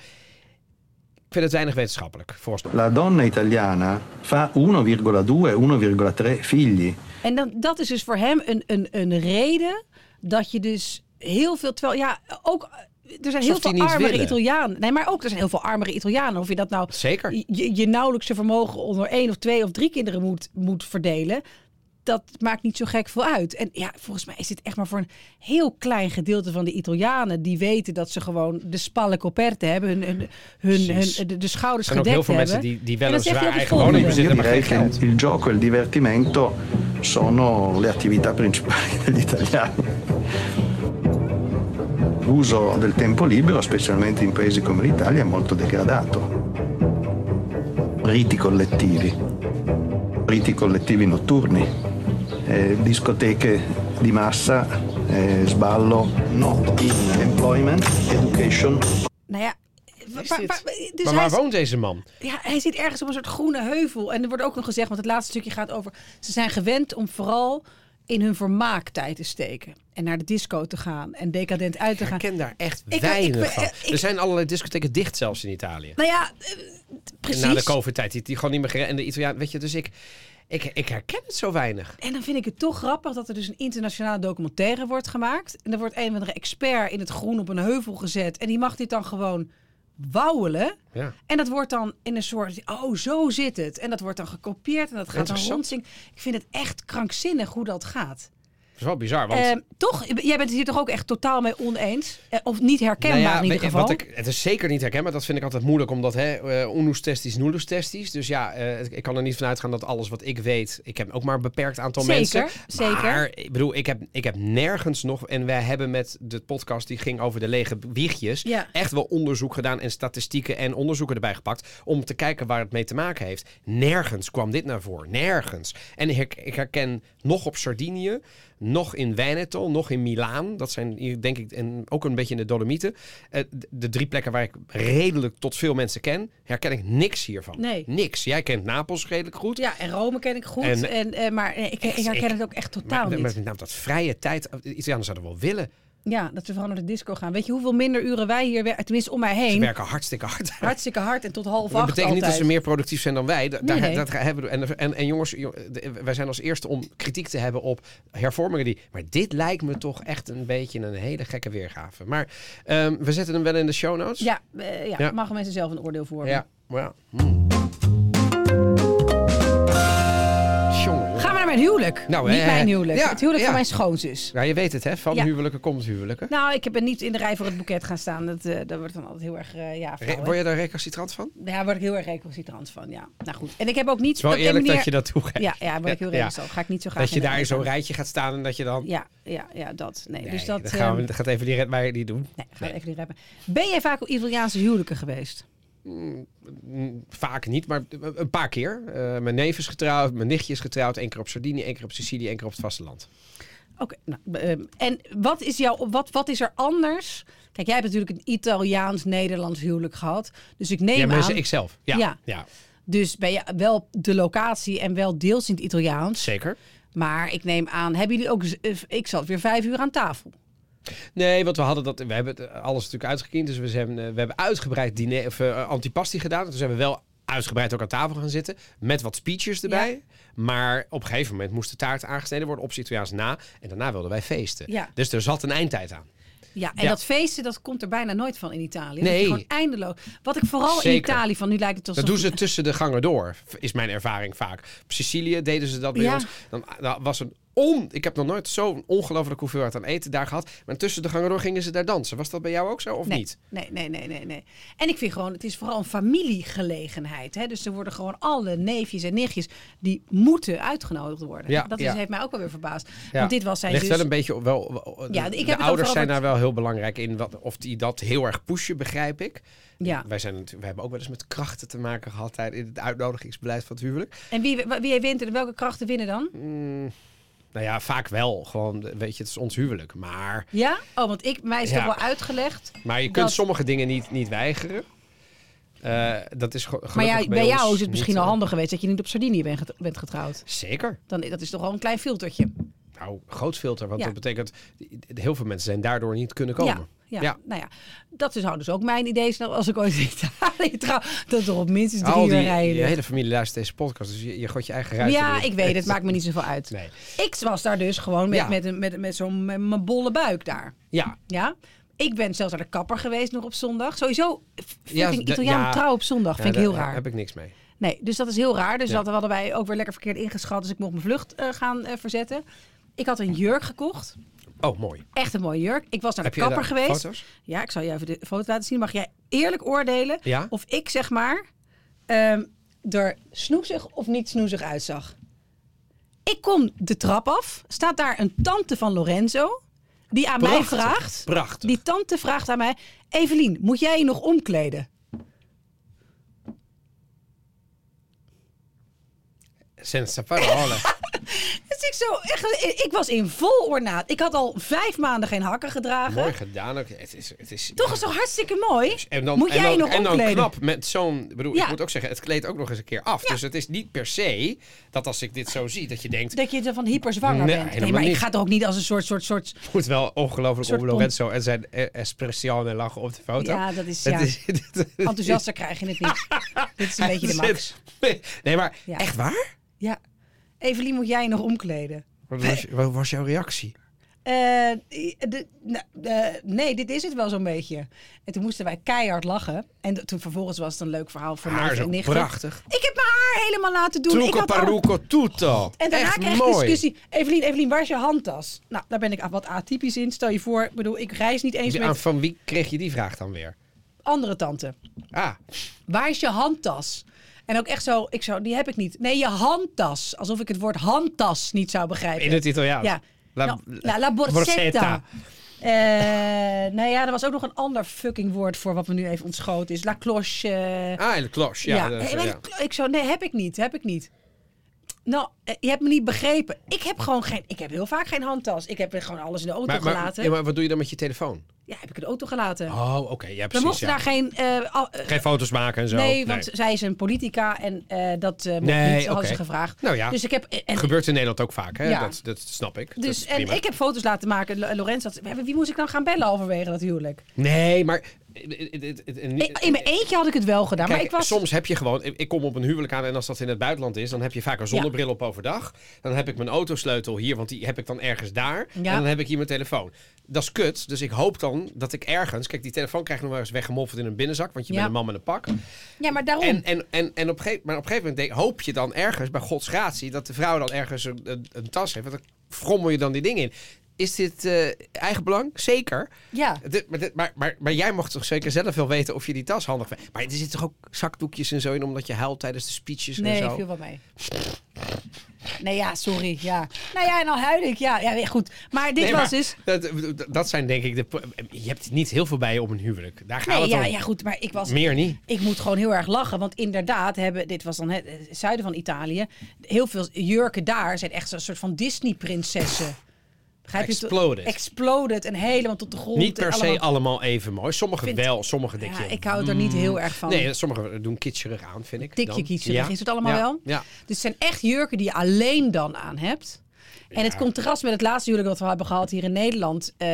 B: Ik vind het weinig wetenschappelijk, volgens mij.
C: La donna italiana fa 1,2-1,3 figli.
A: En dan, dat is dus voor hem een, een, een reden dat je dus heel veel... Terwijl, ja, ook... Er zijn heel
B: die
A: veel
B: niet
A: armere
B: willen.
A: Italianen. Nee, maar ook er zijn heel veel armere Italianen. Of je dat nou
B: Zeker.
A: je, je nauwelijkse vermogen onder één of twee of drie kinderen moet, moet verdelen. Dat maakt niet zo gek veel uit. En ja, volgens mij is dit echt maar voor een heel klein gedeelte van de Italianen. Die weten dat ze gewoon de spalle coperte hebben. Hun, hun, hun,
B: Precies.
A: hun- de, de schouders
B: Er zijn ook heel
A: gedekt
B: veel mensen
A: hebben.
B: die, die wel
A: En
B: een
A: dat zegt
B: zwaar
A: hij ook
B: eigen
A: het
B: woning
A: volgende.
B: bezitten,
C: Io
B: maar
C: direi
B: geen
C: che
B: geld.
C: il gioco e il divertimento sono le attività principali degli italiani. L'uso del tempo libero, specialmente in paesi come l'Italia, è molto degradato. Riti collettivi, riti collettivi notturni, eh, discoteche di massa, eh, sballo, no, employment, education.
A: Nou ja, wa- wa-
B: dit?
A: wa- dus
B: maar
A: hij
B: waar
A: is-
B: woont deze man?
A: Ja, hij zit ergens op een soort groene heuvel. En er wordt ook nog gezegd, want het laatste stukje gaat over... ze zijn gewend om vooral in hun vermaaktijd te steken. En naar de disco te gaan en decadent uit te
B: Ik
A: gaan.
B: ken daar echt
A: Ik- ik-
B: weinig
A: ik-
B: van.
A: ik-
B: er zijn allerlei discotheken dicht zelfs in Italië.
A: Nou ja, eh, precies.
B: Na de COVID-tijd. Die, die gewoon niet meer gere- En de Italiaan, weet je, dus ik, ik, ik herken het zo weinig.
A: En dan vind ik het toch grappig dat er dus een internationale documentaire wordt gemaakt. En er wordt een of andere expert in het groen op een heuvel gezet. En die mag dit dan gewoon wauwelen.
B: Ja.
A: En dat wordt dan in een soort, oh zo zit het. En dat wordt dan gekopieerd en dat gaat dan
B: Interessant.
A: rondzingen. Ik vind het echt krankzinnig hoe dat gaat.
B: Dat is wel bizar, want...
A: Ehm, toch, jij bent het hier toch ook echt totaal mee oneens? Eh, Of niet herkenbaar
B: Nou ja,
A: in ieder
B: weet-
A: geval?
B: Wat ik, het is zeker niet herkenbaar. Dat vind ik altijd moeilijk, omdat hè, eh onus testis, nullus testis. Dus ja, eh, ik kan er niet vanuit gaan dat alles wat ik weet... Ik heb ook maar een beperkt aantal
A: Zeker,
B: mensen.
A: zeker.
B: Maar, ik bedoel, ik heb, ik heb nergens nog... En wij hebben met de podcast die ging over de lege wiegjes...
A: Ja.
B: echt wel onderzoek gedaan en statistieken en onderzoeken erbij gepakt... om te kijken waar het mee te maken heeft. Nergens kwam dit naar voren. Nergens. En ik, ik herken nog op Sardinië, nog in Veneto, nog in Milaan. Dat zijn hier, denk ik en ook een beetje in de Dolomieten. Eh, de- de drie plekken waar ik redelijk tot veel mensen ken... herken ik niks hiervan.
A: Nee.
B: Niks. Jij kent Napels redelijk goed.
A: Ja, en Rome ken ik goed. En,
B: En-
A: eh, maar eh, ik, ik herken
B: ik-
A: het ook echt
B: Maar,
A: totaal
B: maar
A: niet.
B: met name dat vrije tijd. De Italianen zouden wel willen.
A: Ja, dat we vooral naar de disco gaan. Weet je hoeveel minder uren wij hier werken? Tenminste, om mij
B: Ze
A: heen.
B: werken hartstikke hard.
A: Hartstikke hard en tot half
B: Dat
A: acht
B: betekent niet dat
A: altijd.
B: ze meer productief zijn dan wij. Da-
A: Nee,
B: daar-
A: nee.
B: Dat hebben, we- en, en, en jongens, jo- de- wij zijn als eerste om kritiek te hebben op hervormingen die. Maar dit lijkt me toch echt een beetje een hele gekke weergave. Maar ehm, we zetten hem wel in de show notes.
A: Ja, eh, ja,
B: Ja.
A: mogen mensen zelf een oordeel vormen.
B: Ja. Maar ja. Hmm. Jongen.
A: Gaan we naar mijn huwelijk.
B: Nou,
A: niet
B: eh,
A: mijn huwelijk.
B: ja,
A: het huwelijk
B: ja.
A: van mijn schoonzus.
B: Ja, je weet het, hè? Van
A: Ja.
B: huwelijken komt huwelijken.
A: Nou, ik ben niet in de rij voor het boeket gaan staan. Dat, eh, dat wordt dan altijd heel erg, eh, ja,
B: Re-
A: vrouw, hè.
B: word je daar recalcitrant van? Het
A: Daar word ik heel erg recalcitrant van, ja. Nou goed. En ik heb ook niet...
B: is wel
A: op een
B: eerlijk
A: manier-
B: dat je dat toegeeft.
A: Ja, ja, daar word ik heel
B: Ja.
A: recalcitrant. Ga ik niet zo graag
B: dat je
A: in de
B: daar in
A: rij
B: zo'n
A: staan.
B: rijtje gaat staan en dat je dan...
A: Ja, ja, ja, dat. Nee,
B: Nee,
A: dus dat...
B: dat gaan we,
A: ehm,
B: dat gaat even die red maar niet doen.
A: Nee, ga
B: Nee.
A: even niet rappen. Ben jij vaak op Italiaanse huwelijken geweest?
B: Mm, Vaak niet, maar een paar keer. Eh, mijn neef is getrouwd, mijn nichtje is getrouwd. één keer op Sardinië, één keer op Sicilië, één keer op het vasteland.
A: Oké, nou, ehm, en wat is, jouw, wat, wat is er anders? Kijk, jij hebt natuurlijk een Italiaans-Nederlands huwelijk gehad. Dus ik neem
B: ja, maar
A: aan...
B: ik zelf. Ja,
A: Ja.
B: ja.
A: Dus ben je wel op de locatie en wel deels in het Italiaans.
B: zeker.
A: Maar ik neem aan, hebben jullie ook... z- eh, Ik zat weer vijf uur aan tafel.
B: Nee, want we hadden dat. We hebben het, eh, alles natuurlijk uitgekiend. Dus we, zijn, eh, we hebben uitgebreid diner of eh, antipasti gedaan. Dus we hebben wel uitgebreid ook aan tafel gaan zitten. Met wat speeches erbij. Maar op een gegeven moment moest de taart aangesneden worden op z'n Italiaans na. En daarna wilden wij feesten.
A: Ja.
B: Dus er zat een eindtijd aan.
A: Ja, en
B: Ja.
A: dat feesten, dat komt er bijna nooit van in Italië. Dat
B: Nee.
A: je gewoon eindeloos... Wat ik vooral in
B: Zeker.
A: Italië van... Nu lijkt het alsof...
B: Dat doen ze tussen de gangen door, is mijn ervaring vaak. Op Sicilië deden ze dat bij
A: Ja.
B: ons. Dan, ah, dan was een on... Ik heb nog nooit zo'n ongelooflijk hoeveelheid aan eten daar gehad. Maar tussen de gangen door gingen ze daar dansen. Was dat bij jou ook zo of
A: nee,
B: niet?
A: Nee, nee, nee, nee, nee. En ik vind gewoon, het is vooral een familiegelegenheid. Hè? Dus er worden gewoon alle neefjes en nichtjes die moeten uitgenodigd worden.
B: Ja,
A: dat is,
B: ja.
A: heeft mij ook wel weer verbaasd.
B: Ja.
A: Want dit was dus- zijn
B: Ligt
A: zus.
B: wel een beetje op- wel, wel-
A: Ja, ik
B: de
A: heb het ook
B: ouders
A: vooral
B: zijn
A: wat-
B: daar wel heel belangrijk in. Wat, of die dat heel erg pushen, begrijp ik.
A: Ja.
B: Wij, zijn, natuurlijk- wij hebben ook wel eens met krachten te maken gehad tijdens in het uitnodigingsbeleid van het huwelijk.
A: En wie, wie wint er? Welke krachten winnen dan?
B: Nou ja, vaak wel. Gewoon, weet je, het is ons huwelijk. Maar,
A: Ja? Oh, want ik, mij is
B: Ja.
A: toch wel uitgelegd.
B: maar je
A: dat-
B: kunt sommige dingen niet, niet weigeren. Eh, dat is ge- gelukkig
A: Maar ja, bij jou
B: ons
A: is het misschien
B: niet,
A: al
B: eh,
A: handig geweest dat je niet op Sardinië bent get- bent getrouwd.
B: Zeker.
A: Dan, dat is toch al een klein filtertje.
B: Nou, groot filter. Want
A: Ja.
B: dat betekent, heel veel mensen zijn daardoor niet kunnen komen.
A: Ja, ja,
B: Ja.
A: nou ja. Dat is nou dus ook mijn idee. Nou, als ik ooit in Italië trouw, dat er op minstens drie
B: Al
A: uur
B: die,
A: rijden.
B: je hele familie luistert deze podcast, dus je, je gooit je eigen ruimte.
A: Ja, ik weet het. Maakt me niet zoveel uit.
B: Nee.
A: Ik was daar dus gewoon met,
B: Ja.
A: met, een- met, met zo'n met mijn bolle buik daar.
B: Ja,
A: Ja? Ik ben zelfs naar de kapper geweest nog op zondag. Sowieso
B: Ja,
A: vind ik
B: de-
A: Italiaan
B: ja.
A: trouw op zondag.
B: Ja,
A: vind ik
B: Nou, daar eh,
A: heel raar.
B: heb ik niks mee.
A: Nee, dus dat is heel raar. Dus
B: Ja.
A: dat hadden wij ook weer lekker verkeerd ingeschat. Dus ik mocht mijn vlucht eh, gaan eh, verzetten. Ik had een jurk gekocht.
B: Oh, mooi.
A: Echt een mooie jurk. Ik was naar de
B: Heb je
A: kapper
B: daar
A: geweest.
B: foto's?
A: Ja, ik zal je even de foto laten zien. Mag jij eerlijk oordelen
B: Ja.
A: of ik zeg maar ehm, er snoezig of niet snoezig uitzag? Ik kom de trap af. Staat daar een tante van Lorenzo die aan
B: Prachtig,
A: mij vraagt.
B: prachtig.
A: Die tante vraagt aan mij: Evelien, moet jij je nog omkleden?
B: Senza parole.
A: Dus ik, zo, echt, ik was in vol ornaat. Ik had al vijf maanden geen hakken gedragen.
B: mooi gedaan ook. Het is, het is,
A: Toch is toch hartstikke mooi?
B: En dan,
A: moet
B: en
A: jij je
B: dan,
A: nog
B: en dan
A: omkleden?
B: knap met zo'n... ik bedoel,
A: Ja.
B: ik moet ook zeggen, het kleedt ook nog eens een keer af. Dus het is niet per se dat als ik dit zo zie, dat je denkt...
A: Dat je ervan hyperzwanger
B: Nee,
A: bent. Nee,
B: helemaal
A: maar ik
B: niet.
A: ga er ook niet als een soort, soort, soort
B: Het moet wel ongelooflijk
A: Soort
B: om Lorenzo en zijn eh, espressione lachen op de foto.
A: Ja, dat is-
B: Dat
A: ja.
B: dat is-
A: Enthousiaster krijg je het niet. Dit is een beetje de max.
B: Nee, maar
A: Ja.
B: echt waar?
A: Ja. Evelien, moet jij je nog omkleden?
B: Wat was, jouw reactie?
A: Eh, de, nou, eh, nee, dit is het wel zo'n beetje. En toen moesten wij keihard lachen. En toen vervolgens was het een leuk verhaal voor
B: Haar
A: mij
B: is
A: en
B: ook
A: nichten.
B: prachtig.
A: Ik heb mijn haar helemaal laten doen. Ik
B: Truco
A: had al-
B: parrucco tutto.
A: En daarna
B: echt
A: kreeg ik
B: mooi.
A: discussie. Evelien, Evelien, waar is je handtas? Nou, daar ben ik af- wat atypisch in. Stel je voor, ik bedoel, ik reis niet eens
B: Die-
A: met
B: aan- Van wie kreeg je die vraag dan weer?
A: andere tante.
B: Ah,
A: Waar is je handtas? En ook echt zo, ik zo, die heb ik niet. Nee, je handtas. Alsof ik het woord handtas niet zou begrijpen.
B: in het Italiaans.
A: Ja. La,
B: La,
A: nou, la, la borsetta.
B: borsetta.
A: Eh, nou ja, er was ook nog een ander fucking woord voor wat me nu even ontschoten is. La cloche. eh,
B: Ah, in de klos. Ja,
A: ja,
B: dat is-
A: Eh, maar
B: ja.
A: ik- ik zo, nee, heb ik niet, heb ik niet. Nou, eh, je hebt me niet begrepen. Ik heb gewoon geen, ik heb heel vaak geen handtas. Ik heb gewoon alles in de auto
B: Maar, maar-
A: gelaten.
B: ja, maar wat doe je dan met je telefoon?
A: Ja, heb ik in de auto gelaten.
B: Oh, oké. ja,
A: we
B: precies.
A: mochten
B: ja.
A: daar geen, eh, al- eh,
B: Geen foto's maken en zo.
A: nee, want zij is een politica en eh, dat eh mocht
B: Nou, Nee,
A: niet, hadden
B: oké.
A: ze gevraagd.
B: Nou ja.
A: Dus ik heb, en,
B: Gebeurt in Nederland ook vaak, hè?
A: Ja.
B: Dat, dat snap ik. Dat
A: dus,
B: is
A: en
B: prima.
A: ik heb foto's laten maken. Lo- Lorenz had, wie moest ik dan gaan bellen halverwege dat huwelijk?
B: Nee, maar... In
A: Ik- in mijn eentje had ik het wel gedaan, maar
B: Kijk,
A: ik was...
B: soms heb je gewoon... Ik kom op een huwelijk aan en als dat in het buitenland is... dan heb je vaak een zonnebril op overdag. Dan heb ik mijn autosleutel hier, want die heb ik dan ergens daar.
A: Ja.
B: En dan heb ik hier mijn telefoon. Dat is kut, dus ik hoop dan dat ik ergens... Kijk, die telefoon krijg ik nog wel eens weggemoffeld in een binnenzak... want je
A: Ja.
B: bent een man met een pak.
A: Ja, maar daarom...
B: En, en, en, en op gegeven, maar op een gegeven moment denk- hoop je dan ergens, bij gods gratie, dat de vrouw dan ergens een, een, een tas heeft. Want dan frommel je dan die dingen in. Is dit eh eigenbelang? Zeker.
A: Ja.
B: Dit- maar, dit- maar, maar, maar jij mocht toch zeker zelf wel weten of je die tas handig vindt. Maar er zitten toch ook zakdoekjes en zo in, omdat je huilt tijdens de speeches
A: Nee,
B: en zo.
A: viel wel mee. Nee, ja, sorry. Ja. Nou ja, en al huil ik. Ja, ja goed. Maar dit
B: Nee,
A: was
B: maar
A: dus...
B: Dat, dat zijn denk ik de... pro- Je hebt niet heel veel bij je op een huwelijk. Daar gaat
A: Nee,
B: het
A: ja,
B: om.
A: ja, goed. Maar ik was...
B: Meer niet.
A: Ik moet gewoon heel erg lachen. Want inderdaad hebben... Dit was dan het, het zuiden van Italië. Heel veel jurken daar zijn echt zo'n soort van Disney-prinsessen. Begrijp je?
B: Exploded.
A: Exploded. En helemaal tot de grond.
B: Niet per
A: en
B: se
A: allemaal-
B: allemaal, even mooi. Sommigen
A: Vind-
B: wel, sommigen denk
A: Ja,
B: je...
A: ik hou er niet heel erg van.
B: Mm. Nee, sommigen doen kitscherig aan, vind ik.
A: Tikje
B: dan.
A: kitscherig
B: Ja.
A: is het allemaal
B: Ja.
A: wel.
B: Ja.
A: Dus het zijn echt jurken die je alleen dan aan hebt. En het contrast met het laatste huwelijk dat we hebben gehad hier in Nederland. eh,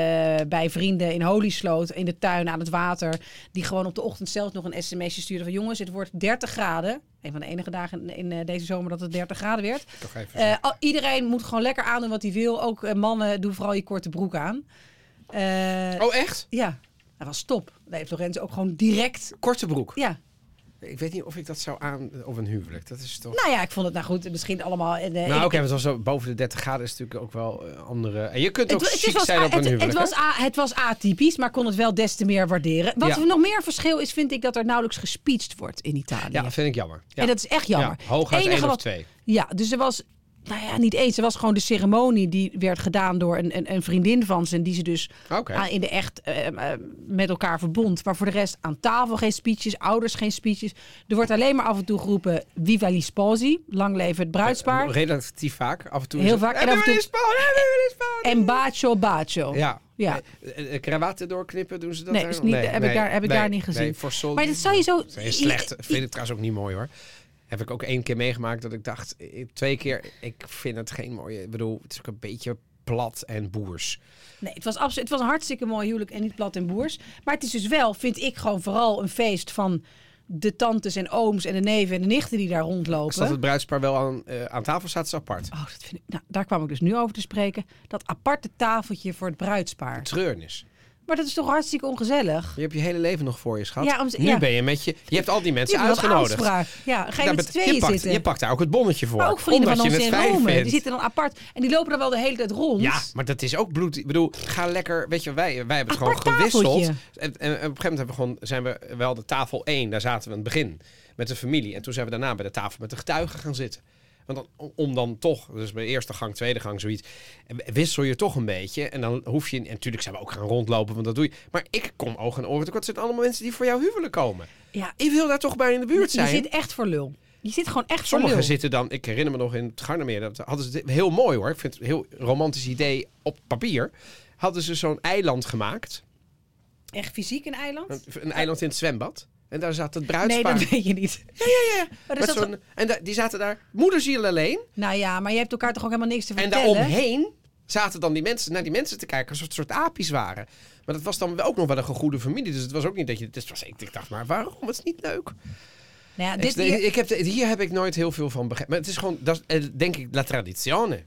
A: bij vrienden in Holisloot, in de tuin, aan het water. Die gewoon op de ochtend zelf nog een sms'je stuurden van... jongens, het wordt 30 graden. Een van de enige dagen in, in, eh, deze zomer dat het 30 graden werd.
B: Toch even
A: Eh, al- iedereen moet gewoon lekker aandoen wat hij wil. Ook eh, mannen, doe vooral je korte broek aan. Eh,
B: Oh, echt?
A: Ja, dat was top. Daar heeft Lorenzo ook gewoon direct...
B: Korte broek.
A: Ja,
B: Ik weet niet of ik dat zou aan op een huwelijk. Dat is toch.
A: nou ja, ik vond het nou goed. Misschien allemaal... eh,
B: Nou, oké, want als zo boven de 30 graden is natuurlijk ook wel eh, andere. En je kunt ook
A: Het, wa- het
B: chic
A: was,
B: zijn
A: a-
B: op een
A: het- het
B: huwelijk.
A: was
B: hè?
A: a- het was atypisch, maar kon het wel des te meer waarderen. Wat
B: Ja.
A: er nog meer verschil is, vind ik dat er nauwelijks gespeeched wordt in Italië.
B: Ja, vind ik jammer. Ja.
A: En dat is echt jammer.
B: Ja, hooguit
A: Het enige
B: één of
A: wat-
B: twee.
A: Ja, dus er was Nou ja, niet eens. Het was gewoon de ceremonie die werd gedaan door een, een, een vriendin van ze. En die ze dus
B: Oké.
A: aan- in de echt eh, eh, met elkaar verbond. Maar voor de rest aan tafel geen speeches, ouders geen speeches. Er wordt alleen maar af en toe geroepen Viva gli sposi, lang leven het bruidspaar.
B: Eh, Relatief vaak. Af en toe. is
A: Heel
B: het,
A: vaak. En
B: Hebben
A: af en
B: we
A: toe-
B: die spawn? Hebben we die spawn?
A: En bacio bacio.
B: Ja.
A: Oh, Ja.
B: Eh, eh, Krawatten doorknippen, doen ze dat
A: Nee,
B: daar
A: is
B: nog?
A: niet- heb ik daar- heb ik daar niet gezien.
B: Nee, voor sol-
A: Maar dat zou je zo...
B: Dat is heel slecht. Vind ik trouwens ook niet mooi hoor. Heb ik ook één keer meegemaakt dat ik dacht, eh, twee keer, ik vind het geen mooie. Ik bedoel, het is ook een beetje plat en boers.
A: Nee, het was, absolu- het was een hartstikke mooi huwelijk en niet plat en boers. Maar het is dus wel, vind ik, gewoon vooral een feest van de tantes en ooms en de neven en de nichten die daar rondlopen.
B: Is dat het bruidspaar wel aan, eh, aan tafel staat, is apart.
A: Oh, dat vind ik... Nou, daar kwam ik dus nu over te spreken. Dat aparte tafeltje voor het bruidspaar.
B: Treurnis.
A: Maar dat is toch hartstikke ongezellig?
B: Je hebt je hele leven nog voor je, schat.
A: Ja, om ze-
B: nu
A: ja.
B: ben je met je, je hebt al die mensen
A: Die hebben wel
B: uitgenodigd.
A: Aanspraak. Ja, ga je
B: Daar
A: met z'n
B: bet-
A: tweeën
B: je, pakt,
A: zitten.
B: je pakt daar ook het bonnetje voor.
A: maar ook vrienden van
B: omdat
A: ons
B: je het
A: in
B: fijn
A: Rome.
B: vindt.
A: Die zitten dan apart. En die lopen dan wel de hele tijd rond.
B: Ja, maar dat is ook bloed. Ik bedoel, ga lekker. Weet je, wij, wij hebben het
A: Apart
B: gewoon gewisseld.
A: tafeltje.
B: En, en op een gegeven moment hebben we gewoon, zijn we wel de tafel 1. Daar zaten we aan het begin met de familie. En toen zijn we daarna bij de tafel met de getuigen gaan zitten. Want dan, om dan toch, dus bij eerste gang, tweede gang, zoiets. en Wissel je toch een beetje. En dan hoef je. En natuurlijk zijn we ook gaan rondlopen, want dat doe je. Maar ik kom oog en oren. tekort. Het zijn allemaal mensen die voor jou huwelijk komen.
A: Ja,
B: Ik wil daar toch bij in de
A: je
B: buurt zijn.
A: zit echt voor lul. Je zit gewoon echt voor
B: Sommigen
A: lul.
B: zitten dan, ik herinner me nog in het Garnermeer, dat hadden ze dit- heel mooi hoor. Ik vind het een heel romantisch idee op papier. Hadden ze zo'n eiland gemaakt,
A: Echt fysiek een
B: een,
A: eiland?
B: een eiland in het zwembad. En daar zat het
A: Nee,
B: bruidspaar.
A: dat weet je niet.
B: Ja, ja, ja.
A: Maar
B: Met
A: er zat-
B: zo'n- En da- die zaten daar, moederziel alleen.
A: Nou ja, maar je hebt elkaar toch ook helemaal niks te
B: En
A: vertellen?
B: daaromheen zaten dan die mensen naar die mensen te kijken, alsof het soort apies waren. Maar dat was dan ook nog wel een goede familie. Dus het was ook niet dat je. Dus het was, ik dacht, maar waarom? Het is niet leuk.
A: Nou ja,
B: Ik,
A: dit hier,
B: ik heb, de- hier heb ik nooit heel veel van begrepen. Maar het is gewoon, dat is, eh, denk ik, la tradizione.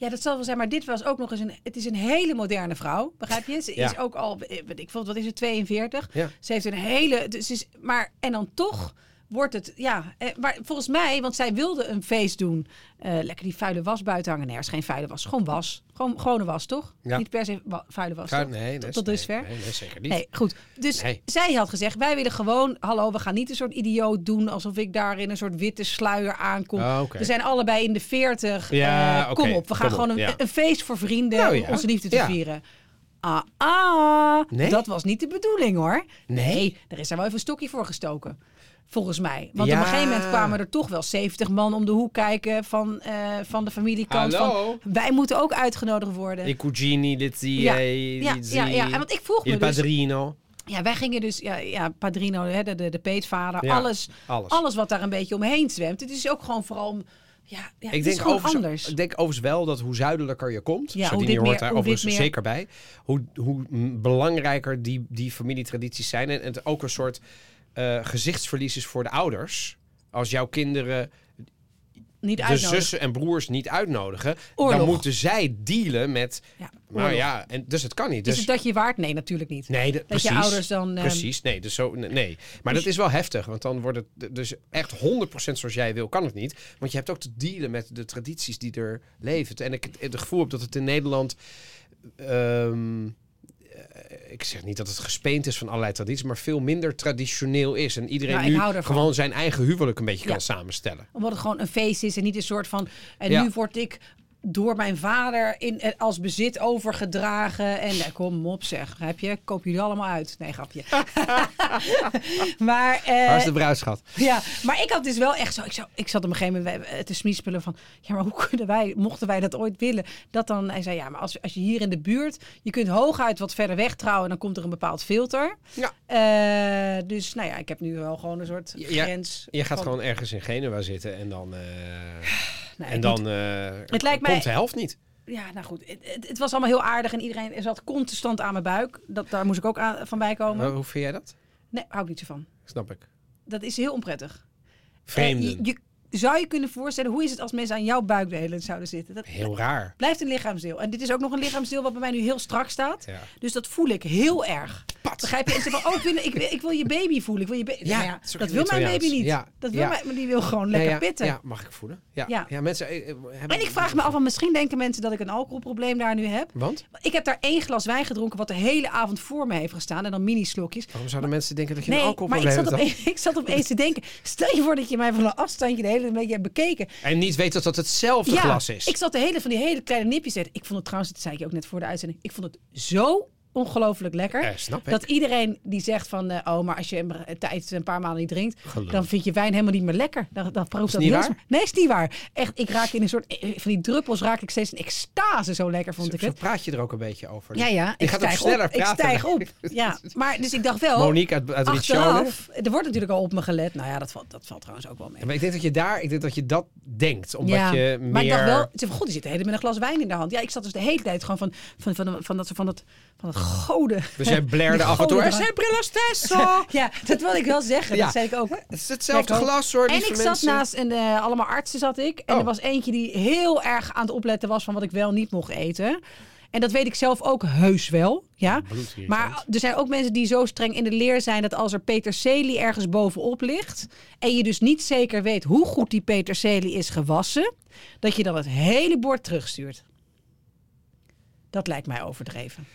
A: ja, dat zal wel zijn, maar dit was ook nog eens een... Het is een hele moderne vrouw, begrijp je? Ze
B: Ja.
A: is ook al, eh, weet ik vond, wat is het, 42?
B: Ja.
A: Ze heeft een hele... Dus ze is, maar, en dan toch wordt het... Ja, eh, maar volgens mij, want zij wilde een feest doen. eh, lekker die vuile was buiten hangen. Nee, er is geen vuile was, gewoon was. Gewoon gewone was, toch?
B: Ja.
A: Niet per se wa- vuile was,
B: Ga-
A: toch?
B: nee, nee,
A: Tot- tot
B: nee,
A: dusver?
B: Nee, nee, zeker niet.
A: Nee, goed. Dus
B: Nee.
A: zij had gezegd, wij willen gewoon... Hallo, we gaan niet een soort idioot doen... alsof ik daar in een soort witte sluier aankom.
B: Ah, oké.
A: We zijn allebei in de veertig.
B: Ja,
A: Eh,
B: oké,
A: Kom op, we gaan
B: kom op,
A: gewoon een,
B: ja.
A: een feest voor vrienden...
B: Nou
A: om
B: ja.
A: onze liefde te
B: Ja.
A: vieren. Ah, ah,
B: Nee?
A: dat was niet de bedoeling, hoor.
B: Nee?
A: daar is daar wel even een stokje voor gestoken. Volgens mij. Want
B: Ja.
A: op een gegeven moment kwamen er toch wel 70 man om de hoek kijken van, eh, van de familiekant.
B: Hallo?
A: Van, wij moeten ook uitgenodigd worden.
B: I cugini, dit zie
A: Ja,
B: je,
A: ja,
B: dit
A: ja,
B: zie
A: ja.
B: je.
A: En want ik vroeg me
B: Il
A: dus-
B: padrino.
A: Ja, wij gingen dus, ja, ja Padrino, hè, de, de, de peetvader,
B: Ja,
A: alles,
B: alles.
A: alles. wat daar een beetje omheen zwemt. Het is ook gewoon vooral, om- ja, ja
B: Ik
A: het is
B: denk,
A: gewoon
B: overigens,
A: anders.
B: ik denk overigens wel dat hoe zuidelijker je komt,
A: Ja, hoe
B: Sardinië
A: dit
B: hoort
A: meer-
B: daar
A: hoe dit
B: overigens
A: meer-
B: zeker bij, hoe, hoe mm, belangrijker die, die familietradities zijn. En, en het ook een soort eh, gezichtsverlies is voor de ouders. Als jouw kinderen
A: Niet
B: de
A: uitnodigen.
B: zussen en broers niet uitnodigen, dan
A: Oorlog.
B: moeten zij dealen met,
A: Ja,
B: nou
A: oorlog.
B: ja, en, dus het kan niet.
A: Is
B: Dus
A: het dat je waard? Nee, natuurlijk niet.
B: Nee, dat,
A: Dat je
B: precies.
A: ouders dan, ehm,
B: Precies, nee. Dus zo, nee. Maar dat is wel heftig, want dan wordt het dus echt 100% zoals jij wil, kan het niet. Want je hebt ook te dealen met de tradities die er leven. En ik het, het gevoel heb dat het in Nederland. ehm, eh, ik zeg niet dat het gespeend is van allerlei tradities, maar veel minder traditioneel is. En iedereen
A: Nou, ik hou
B: nu
A: ervan.
B: gewoon zijn eigen huwelijk een beetje
A: Ja.
B: kan samenstellen.
A: Omdat het gewoon een feest is en niet een soort van, en
B: Ja.
A: nu word ik door mijn vader in, eh, als bezit overgedragen. En eh, kom op zeg, heb je, koop jullie allemaal uit. Nee, grapje. maar, eh,
B: Waar is de bruidschat?
A: Ja, maar ik had dus wel echt zo. Ik, zou, ik zat op een gegeven moment eh, te smiespelen van. Ja, maar hoe kunnen wij, mochten wij dat ooit willen? Dat dan. Hij zei ja, maar als, als je hier in de buurt. Je kunt hooguit wat verder weg trouwen. en Dan komt er een bepaald filter.
B: Ja.
A: Eh, dus nou ja, ik heb nu wel gewoon een soort
B: Ja,
A: grens.
B: Je gaat
A: van-
B: gewoon ergens in Genua zitten en dan. eh,
A: Nou,
B: en
A: ik
B: dan eh,
A: Het lijkt mij-
B: komt de helft niet.
A: Ja, nou goed. Het, het, het was allemaal heel aardig. En iedereen zat constant aan mijn buik. Dat, daar moest ik ook aan, van bij komen.
B: Maar hoe vind jij dat?
A: Nee, hou ik niet zo van.
B: Snap ik.
A: Dat is heel onprettig.
B: Vreemden.
A: Eh, je, je- zou je kunnen voorstellen, hoe is het als mensen aan jouw buik de hele tijd zouden zitten? Dat,
B: Heel raar.
A: Blijft een lichaamsdeel. En dit is ook nog een lichaamsdeel wat bij mij nu heel strak staat.
B: Ja.
A: Dus dat voel ik heel erg.
B: Pat.
A: Begrijp je? En ze van, oh, ik wil, ik, wil- ik wil je baby voelen. Ik wil je ba-
B: Ja,
A: Nou
B: het is ook
A: dat
B: een
A: wil mijn baby
B: Italiaans.
A: niet.
B: Ja,
A: Dat wil
B: ja.
A: mijn, maar die wil gewoon lekker
B: ja, ja,
A: pitten.
B: Ja, mag ik voelen. Ja, ja.
A: Ja.
B: mensen eh, eh, hebben...
A: En ik vraag me af, want misschien denken mensen dat ik een alcoholprobleem daar nu heb.
B: Want?
A: Ik heb daar één glas wijn gedronken wat de hele avond voor me heeft gestaan. En dan mini-slokjes.
B: Waarom zouden mensen denken dat je een
A: Nee, maar ik
B: alcoholprobleem
A: zat,
B: hebt?
A: opeens, ik zat opeens te denken, stel je voor dat je mij van een afstandje de hele hele beetje heb bekeken.
B: En niet weet dat dat hetzelfde glas is.
A: ik zat de hele van die hele kleine nipjes te eten. Ik vond het trouwens, dat zei ik je ook net voor de uitzending, ik vond het zo ongelooflijk lekker.
B: Eh, snap ik.
A: dat iedereen die zegt van, eh, oh, maar als je een een tijd een paar maanden niet drinkt,
B: Gelul.
A: dan vind je wijn helemaal niet meer lekker. Dan, dan proeft dat
B: niet
A: heel
B: waar?
A: sma- Nee, is niet waar. Echt, ik raak in een soort, eh, van die druppels raak ik steeds in extase. Zo lekker vond ik
B: Zo
A: het.
B: praat je er ook een beetje over.
A: Ja, ja.
B: Je
A: Ik
B: gaat ook
A: stijg
B: sneller
A: op. Ik
B: praten.
A: stijg op. Ja, maar dus ik dacht wel.
B: Monique uit, uit Ritsjone.
A: Achteraf, er wordt natuurlijk al op me gelet. Nou ja, dat valt, dat valt trouwens ook wel mee.
B: Maar ik denk dat je daar, ik denk dat je dat denkt. Omdat
A: ja,
B: je meer...
A: maar ik dacht wel, het is van, god, die zit de hele met een glas wijn in de hand. Ja, ik zat dus de hele tijd gewoon van, van, van, van, dat, van, dat, van dat goden.
B: Dus jij blerde
A: Die
B: af en toe.
A: goden
B: "Er zijn brillas Tessel."
A: Ja, dat wil ik wel zeggen.
B: Ja.
A: Dat zei ik ook.
B: Het is hetzelfde
A: Ja, ik ook.
B: glas hoor,
A: En ik
B: lieve
A: zat
B: mensen.
A: naast een, eh, allemaal artsen zat ik. En
B: Oh.
A: er was eentje die heel erg aan het opletten was van wat ik wel niet mocht eten. En dat weet ik zelf ook heus wel. Ja.
B: Bloedirritant.
A: Maar er zijn ook mensen die zo streng in de leer zijn dat als er peterselie ergens bovenop ligt. en je dus niet zeker weet hoe goed die peterselie is gewassen. dat je dan het hele bord terugstuurt. Dat lijkt mij overdreven.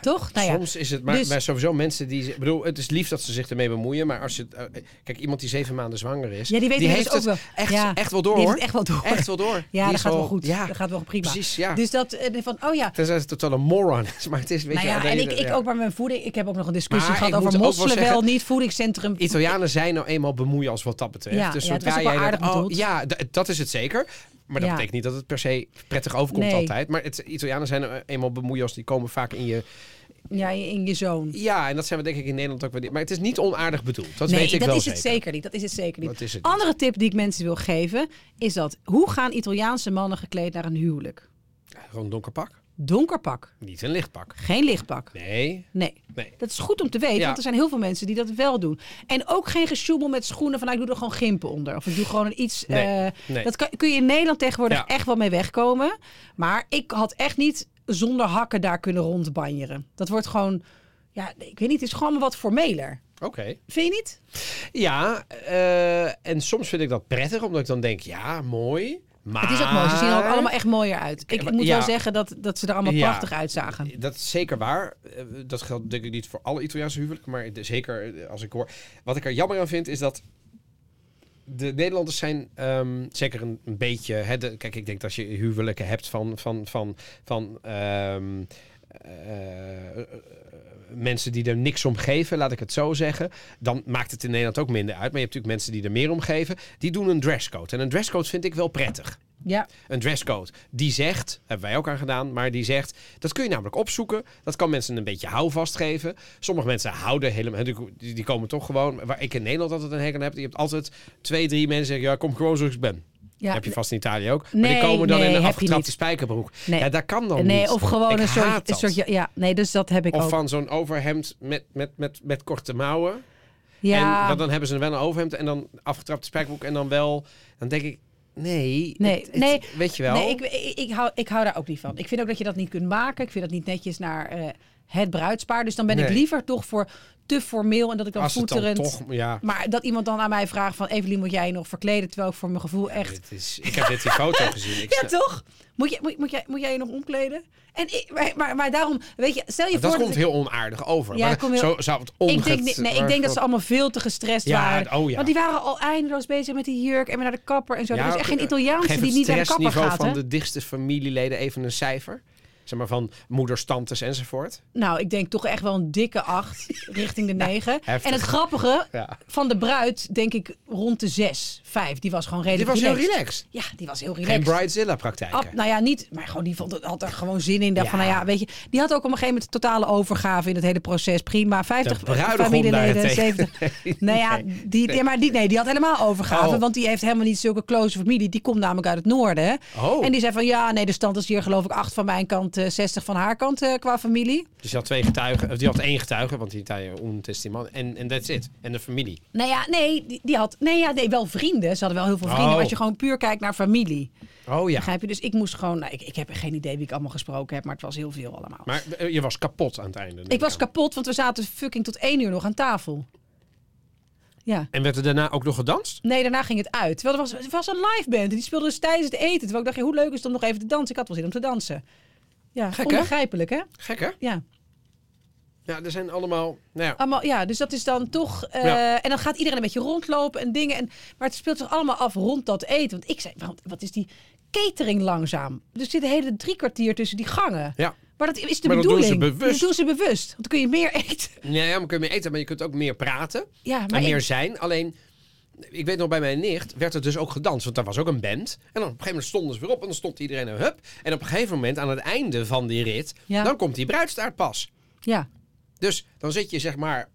A: Toch? Nou ja.
B: Soms is het, maar,
A: Dus-
B: maar sowieso mensen die... Ik bedoel, het is lief dat ze zich ermee bemoeien, maar als je... het, eh, Kijk, iemand die zeven maanden zwanger is,
A: Ja, die weet het
B: heeft
A: dus ook
B: het
A: wel.
B: Echt,
A: Ja,
B: echt wel door
A: die heeft
B: hoor.
A: het echt wel door.
B: Echt wel door. Die
A: Ja, dat
B: is
A: gaat wel goed.
B: Ja,
A: Dat gaat wel prima.
B: precies, ja.
A: Dus dat eh, van, oh ja.
B: Tenzij het totaal een moron is, maar het is... Weet
A: Nou
B: je,
A: ja,
B: alleen
A: en ik,
B: dat-
A: ik
B: ja.
A: ook bij mijn voeding. Ik heb ook nog een discussie
B: Maar ik
A: gehad
B: moet
A: over
B: ook wel
A: mosselen wel,
B: zeggen-
A: niet, voedingscentrum.
B: Italianen zijn nou eenmaal bemoeien als wat dat betreft.
A: Ja,
B: dus
A: ja, het
B: zodra
A: was ook wel
B: jij
A: aardig
B: dat, oh,
A: bedoeld.
B: ja, d- dat is het zeker. Maar dat
A: Ja.
B: betekent niet dat het per se prettig overkomt
A: Nee.
B: altijd. Maar het, Italianen zijn nou eenmaal bemoeien als die komen vaak in je...
A: Ja, in je zoon.
B: Ja, en dat zijn we denk ik in Nederland ook wel... Maar het is niet onaardig bedoeld. Dat
A: nee,
B: weet ik
A: dat
B: wel
A: is
B: zeker.
A: het zeker niet. Dat is het zeker niet.
B: Dat is het niet.
A: Andere tip die ik mensen wil geven is dat hoe gaan Italiaanse mannen gekleed naar een huwelijk?
B: Gewoon een donker pak.
A: Donker pak,
B: Niet een licht pak.
A: geen licht pak.
B: Nee.
A: Nee.
B: Nee.
A: Dat is goed om te weten,
B: Ja.
A: want er zijn heel veel mensen die dat wel doen. En ook geen gesjoebel met schoenen van nou, ik doe er gewoon gimpen onder. Of ik doe gewoon een iets...
B: Nee,
A: eh,
B: nee.
A: Dat kan, kun je in Nederland tegenwoordig
B: Ja.
A: echt wel mee wegkomen. Maar ik had echt niet zonder hakken daar kunnen rondbanjeren. Dat wordt gewoon... Ja, ik weet niet, het is gewoon wat formeler.
B: Oké.
A: Vind je niet?
B: Ja, eh, en soms vind ik dat prettig, omdat ik dan denk, ja, mooi. Maar...
A: Het is ook mooi. Ze zien er ook allemaal echt mooier uit. Ik
B: maar-
A: moet
B: ja.
A: wel zeggen dat, dat ze er allemaal
B: Ja.
A: prachtig uitzagen.
B: Dat is zeker waar. Eh, Dat geldt denk ik niet voor alle Italiaanse huwelijken, maar de- zeker eh, als ik hoor. Wat ik er jammer aan vind is dat de Nederlanders zijn ehm, zeker een, een beetje. Hè, de- kijk, ik denk dat je huwelijken hebt van van van van. ehm, eh, eh, Mensen die er niks om geven, laat ik het zo zeggen, dan maakt het in Nederland ook minder uit. Maar je hebt natuurlijk mensen die er meer om geven, die doen een dresscode. En een dresscode vind ik wel prettig
A: Ja.
B: een dresscode. Die zegt, hebben wij ook aan gedaan, maar die zegt, dat kun je namelijk opzoeken. Dat kan mensen een beetje houvast geven. Sommige mensen houden helemaal, die- die die komen toch gewoon, waar ik in Nederland altijd een hekel aan heb, je hebt altijd twee, drie mensen die zeggen, ja, kom gewoon zoals ik ben.
A: ja.
B: heb je vast in Italië ook. maar
A: Nee,
B: die komen dan
A: nee, heb
B: in een
A: je niet.
B: afgetrapte spijkerbroek.
A: Nee.
B: Ja, daar kan dan Nou, niet.
A: Nee, of gewoon
B: Ik
A: een
B: haat
A: soort, een
B: dat.
A: soort... Ja, nee, dus dat heb ik
B: Of
A: ook.
B: van zo'n overhemd met, met, met, met korte mouwen.
A: ja.
B: En dan, dan hebben ze wel een overhemd en dan afgetrapte spijkerbroek. En dan wel, dan denk ik, nee.
A: Nee,
B: het- het-
A: nee,
B: weet je wel.
A: Nee, ik, ik, ik hou, ik hou daar ook niet van. Ik vind ook dat je dat niet kunt maken. Ik vind dat niet netjes naar eh, het bruidspaar. Dus dan ben ik
B: Nee.
A: liever toch voor te formeel en dat ik dan
B: Als het dan
A: voeterend...
B: toch, ja.
A: Maar dat iemand dan aan mij vraagt van... Evelien, moet jij je nog verkleden? Terwijl ik voor mijn gevoel echt...
B: Dit is, ik heb dit die foto gezien. Ik
A: Ja,
B: snap-
A: toch? Moet, je, moet, moet, jij, moet jij je nog omkleden? En ik, maar, maar, maar daarom, weet je, stel je
B: dat
A: voor...
B: komt
A: ik-
B: heel onaardig over.
A: Ja,
B: maar
A: komt heel-
B: Zo zou het
A: ik denk,
B: onget-
A: niet- nee, ik denk dat ze allemaal veel te gestrest
B: Ja,
A: waren.
B: oh ja.
A: Want die waren al eindeloos bezig met die jurk en weer naar de kapper en zo.
B: Ja,
A: er is echt geen
B: eh,
A: Italiaanse
B: geef
A: die
B: het
A: niet naar de kapper
B: stressniveau
A: gaat.
B: van
A: hè?
B: de dichtste familieleden even een cijfer. Zeg maar van moeders, tantes enzovoort.
A: Nou, ik denk toch echt wel een dikke acht richting de negen.
B: Nou, heftig.
A: en het grappige
B: Ja.
A: van de bruid, denk ik rond de zes, vijf. Die was gewoon
B: Dit
A: redelijk
B: was heel
A: relaxed.
B: relaxed.
A: Ja, die was heel
B: Geen
A: relaxed.
B: Bridezilla-praktijken.
A: Ab- nou ja, niet. Maar gewoon, die vond, het- had er gewoon zin in. Dacht
B: Ja.
A: van, nou ja, weet je. Die had ook op een gegeven moment totale overgave in het hele proces. Prima. 50
B: De bruidegom
A: familieleden,
B: daarentegen.
A: 70. nou ja, die, die- maar die, nee, die had helemaal overgave.
B: Oh.
A: Want die heeft helemaal niet zulke close familie. Die komt namelijk uit het noorden. hè.
B: Oh.
A: En die zei van, ja, nee, de stand is hier geloof ik 8 van mijn kant, eh, 60 van haar kant eh, qua familie.
B: Dus je had twee getuigen, of die had één getuige, want in Italië un testiman. En en that's it. En de familie.
A: Nou ja, nee, die, die had. Nee, ja, nee, wel vrienden. Ze hadden wel heel veel vrienden.
B: Oh.
A: Maar als je gewoon puur kijkt naar familie.
B: Oh ja.
A: Begrijp je? Dus ik moest gewoon. Nou, ik, ik heb geen idee wie ik allemaal gesproken heb, maar het was heel veel allemaal.
B: Maar eh, je was kapot aan het einde. neem
A: ik was
B: aan.
A: kapot, want we zaten fucking tot één uur nog aan tafel. Ja.
B: En werd er daarna ook nog gedanst?
A: Nee, daarna ging het uit. Terwijl er was, er was een live band. en Die speelde dus tijdens het eten. Terwijl ik dacht, ja, hoe leuk is het om nog even te dansen? Ik had wel zin om te dansen. Ja,
B: Gek, hè?
A: onbegrijpelijk, hè?
B: Gek hè?
A: Ja.
B: Ja, er zijn allemaal... Nou ja,
A: Allemaal, ja, dus dat is dan toch. eh,
B: Ja.
A: En dan gaat iedereen een beetje rondlopen en dingen. En, maar het speelt zich allemaal af rond dat eten. Want ik zei, waarom- wat is die catering langzaam? Er zit een hele drie kwartier tussen die gangen.
B: ja.
A: Maar dat is de
B: Maar dat doen ze
A: bedoeling. Dat
B: bewust.
A: doen ze bewust. Want dan kun je meer eten.
B: Nee, ja, maar kun je meer eten, maar je kunt ook meer praten.
A: Ja, maar
B: en meer
A: ik-
B: zijn. Alleen, ik weet nog, bij mijn nicht werd er dus ook gedanst. Want daar was ook een band. En dan op een gegeven moment stonden ze weer op. En dan stond iedereen een hup. En op een gegeven moment, aan het einde van die rit,
A: Ja.
B: dan komt die bruidstaart pas.
A: ja.
B: Dus dan zit je, zeg maar,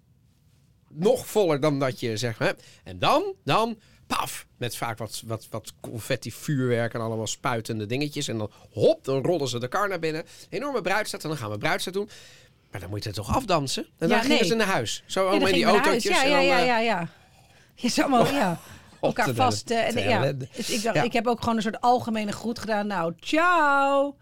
B: nog voller dan dat je, zeg maar... En dan, dan, paf! Met vaak wat, wat, wat confetti, vuurwerk en allemaal spuitende dingetjes. En dan hop, dan rollen ze de kar naar binnen. Enorme bruidstaart. En dan gaan we bruidstaart doen. Maar dan moet je het toch afdansen? En dan
A: Ja,
B: gingen
A: nee.
B: ze naar huis. Zo
A: Ja, dan
B: allemaal in die
A: ging ik naar huis.
B: autootjes. en
A: Ja,
B: dan,
A: ja, ja,
B: eh, Oh,
A: ja, ja. Je zou maar, ja. Elkaar
B: te
A: vast. eh, en,
B: te
A: ja.
B: ellende.
A: Dus ik, dacht,
B: Ja.
A: ik heb ook gewoon een soort algemene groet gedaan. Nou, ciao.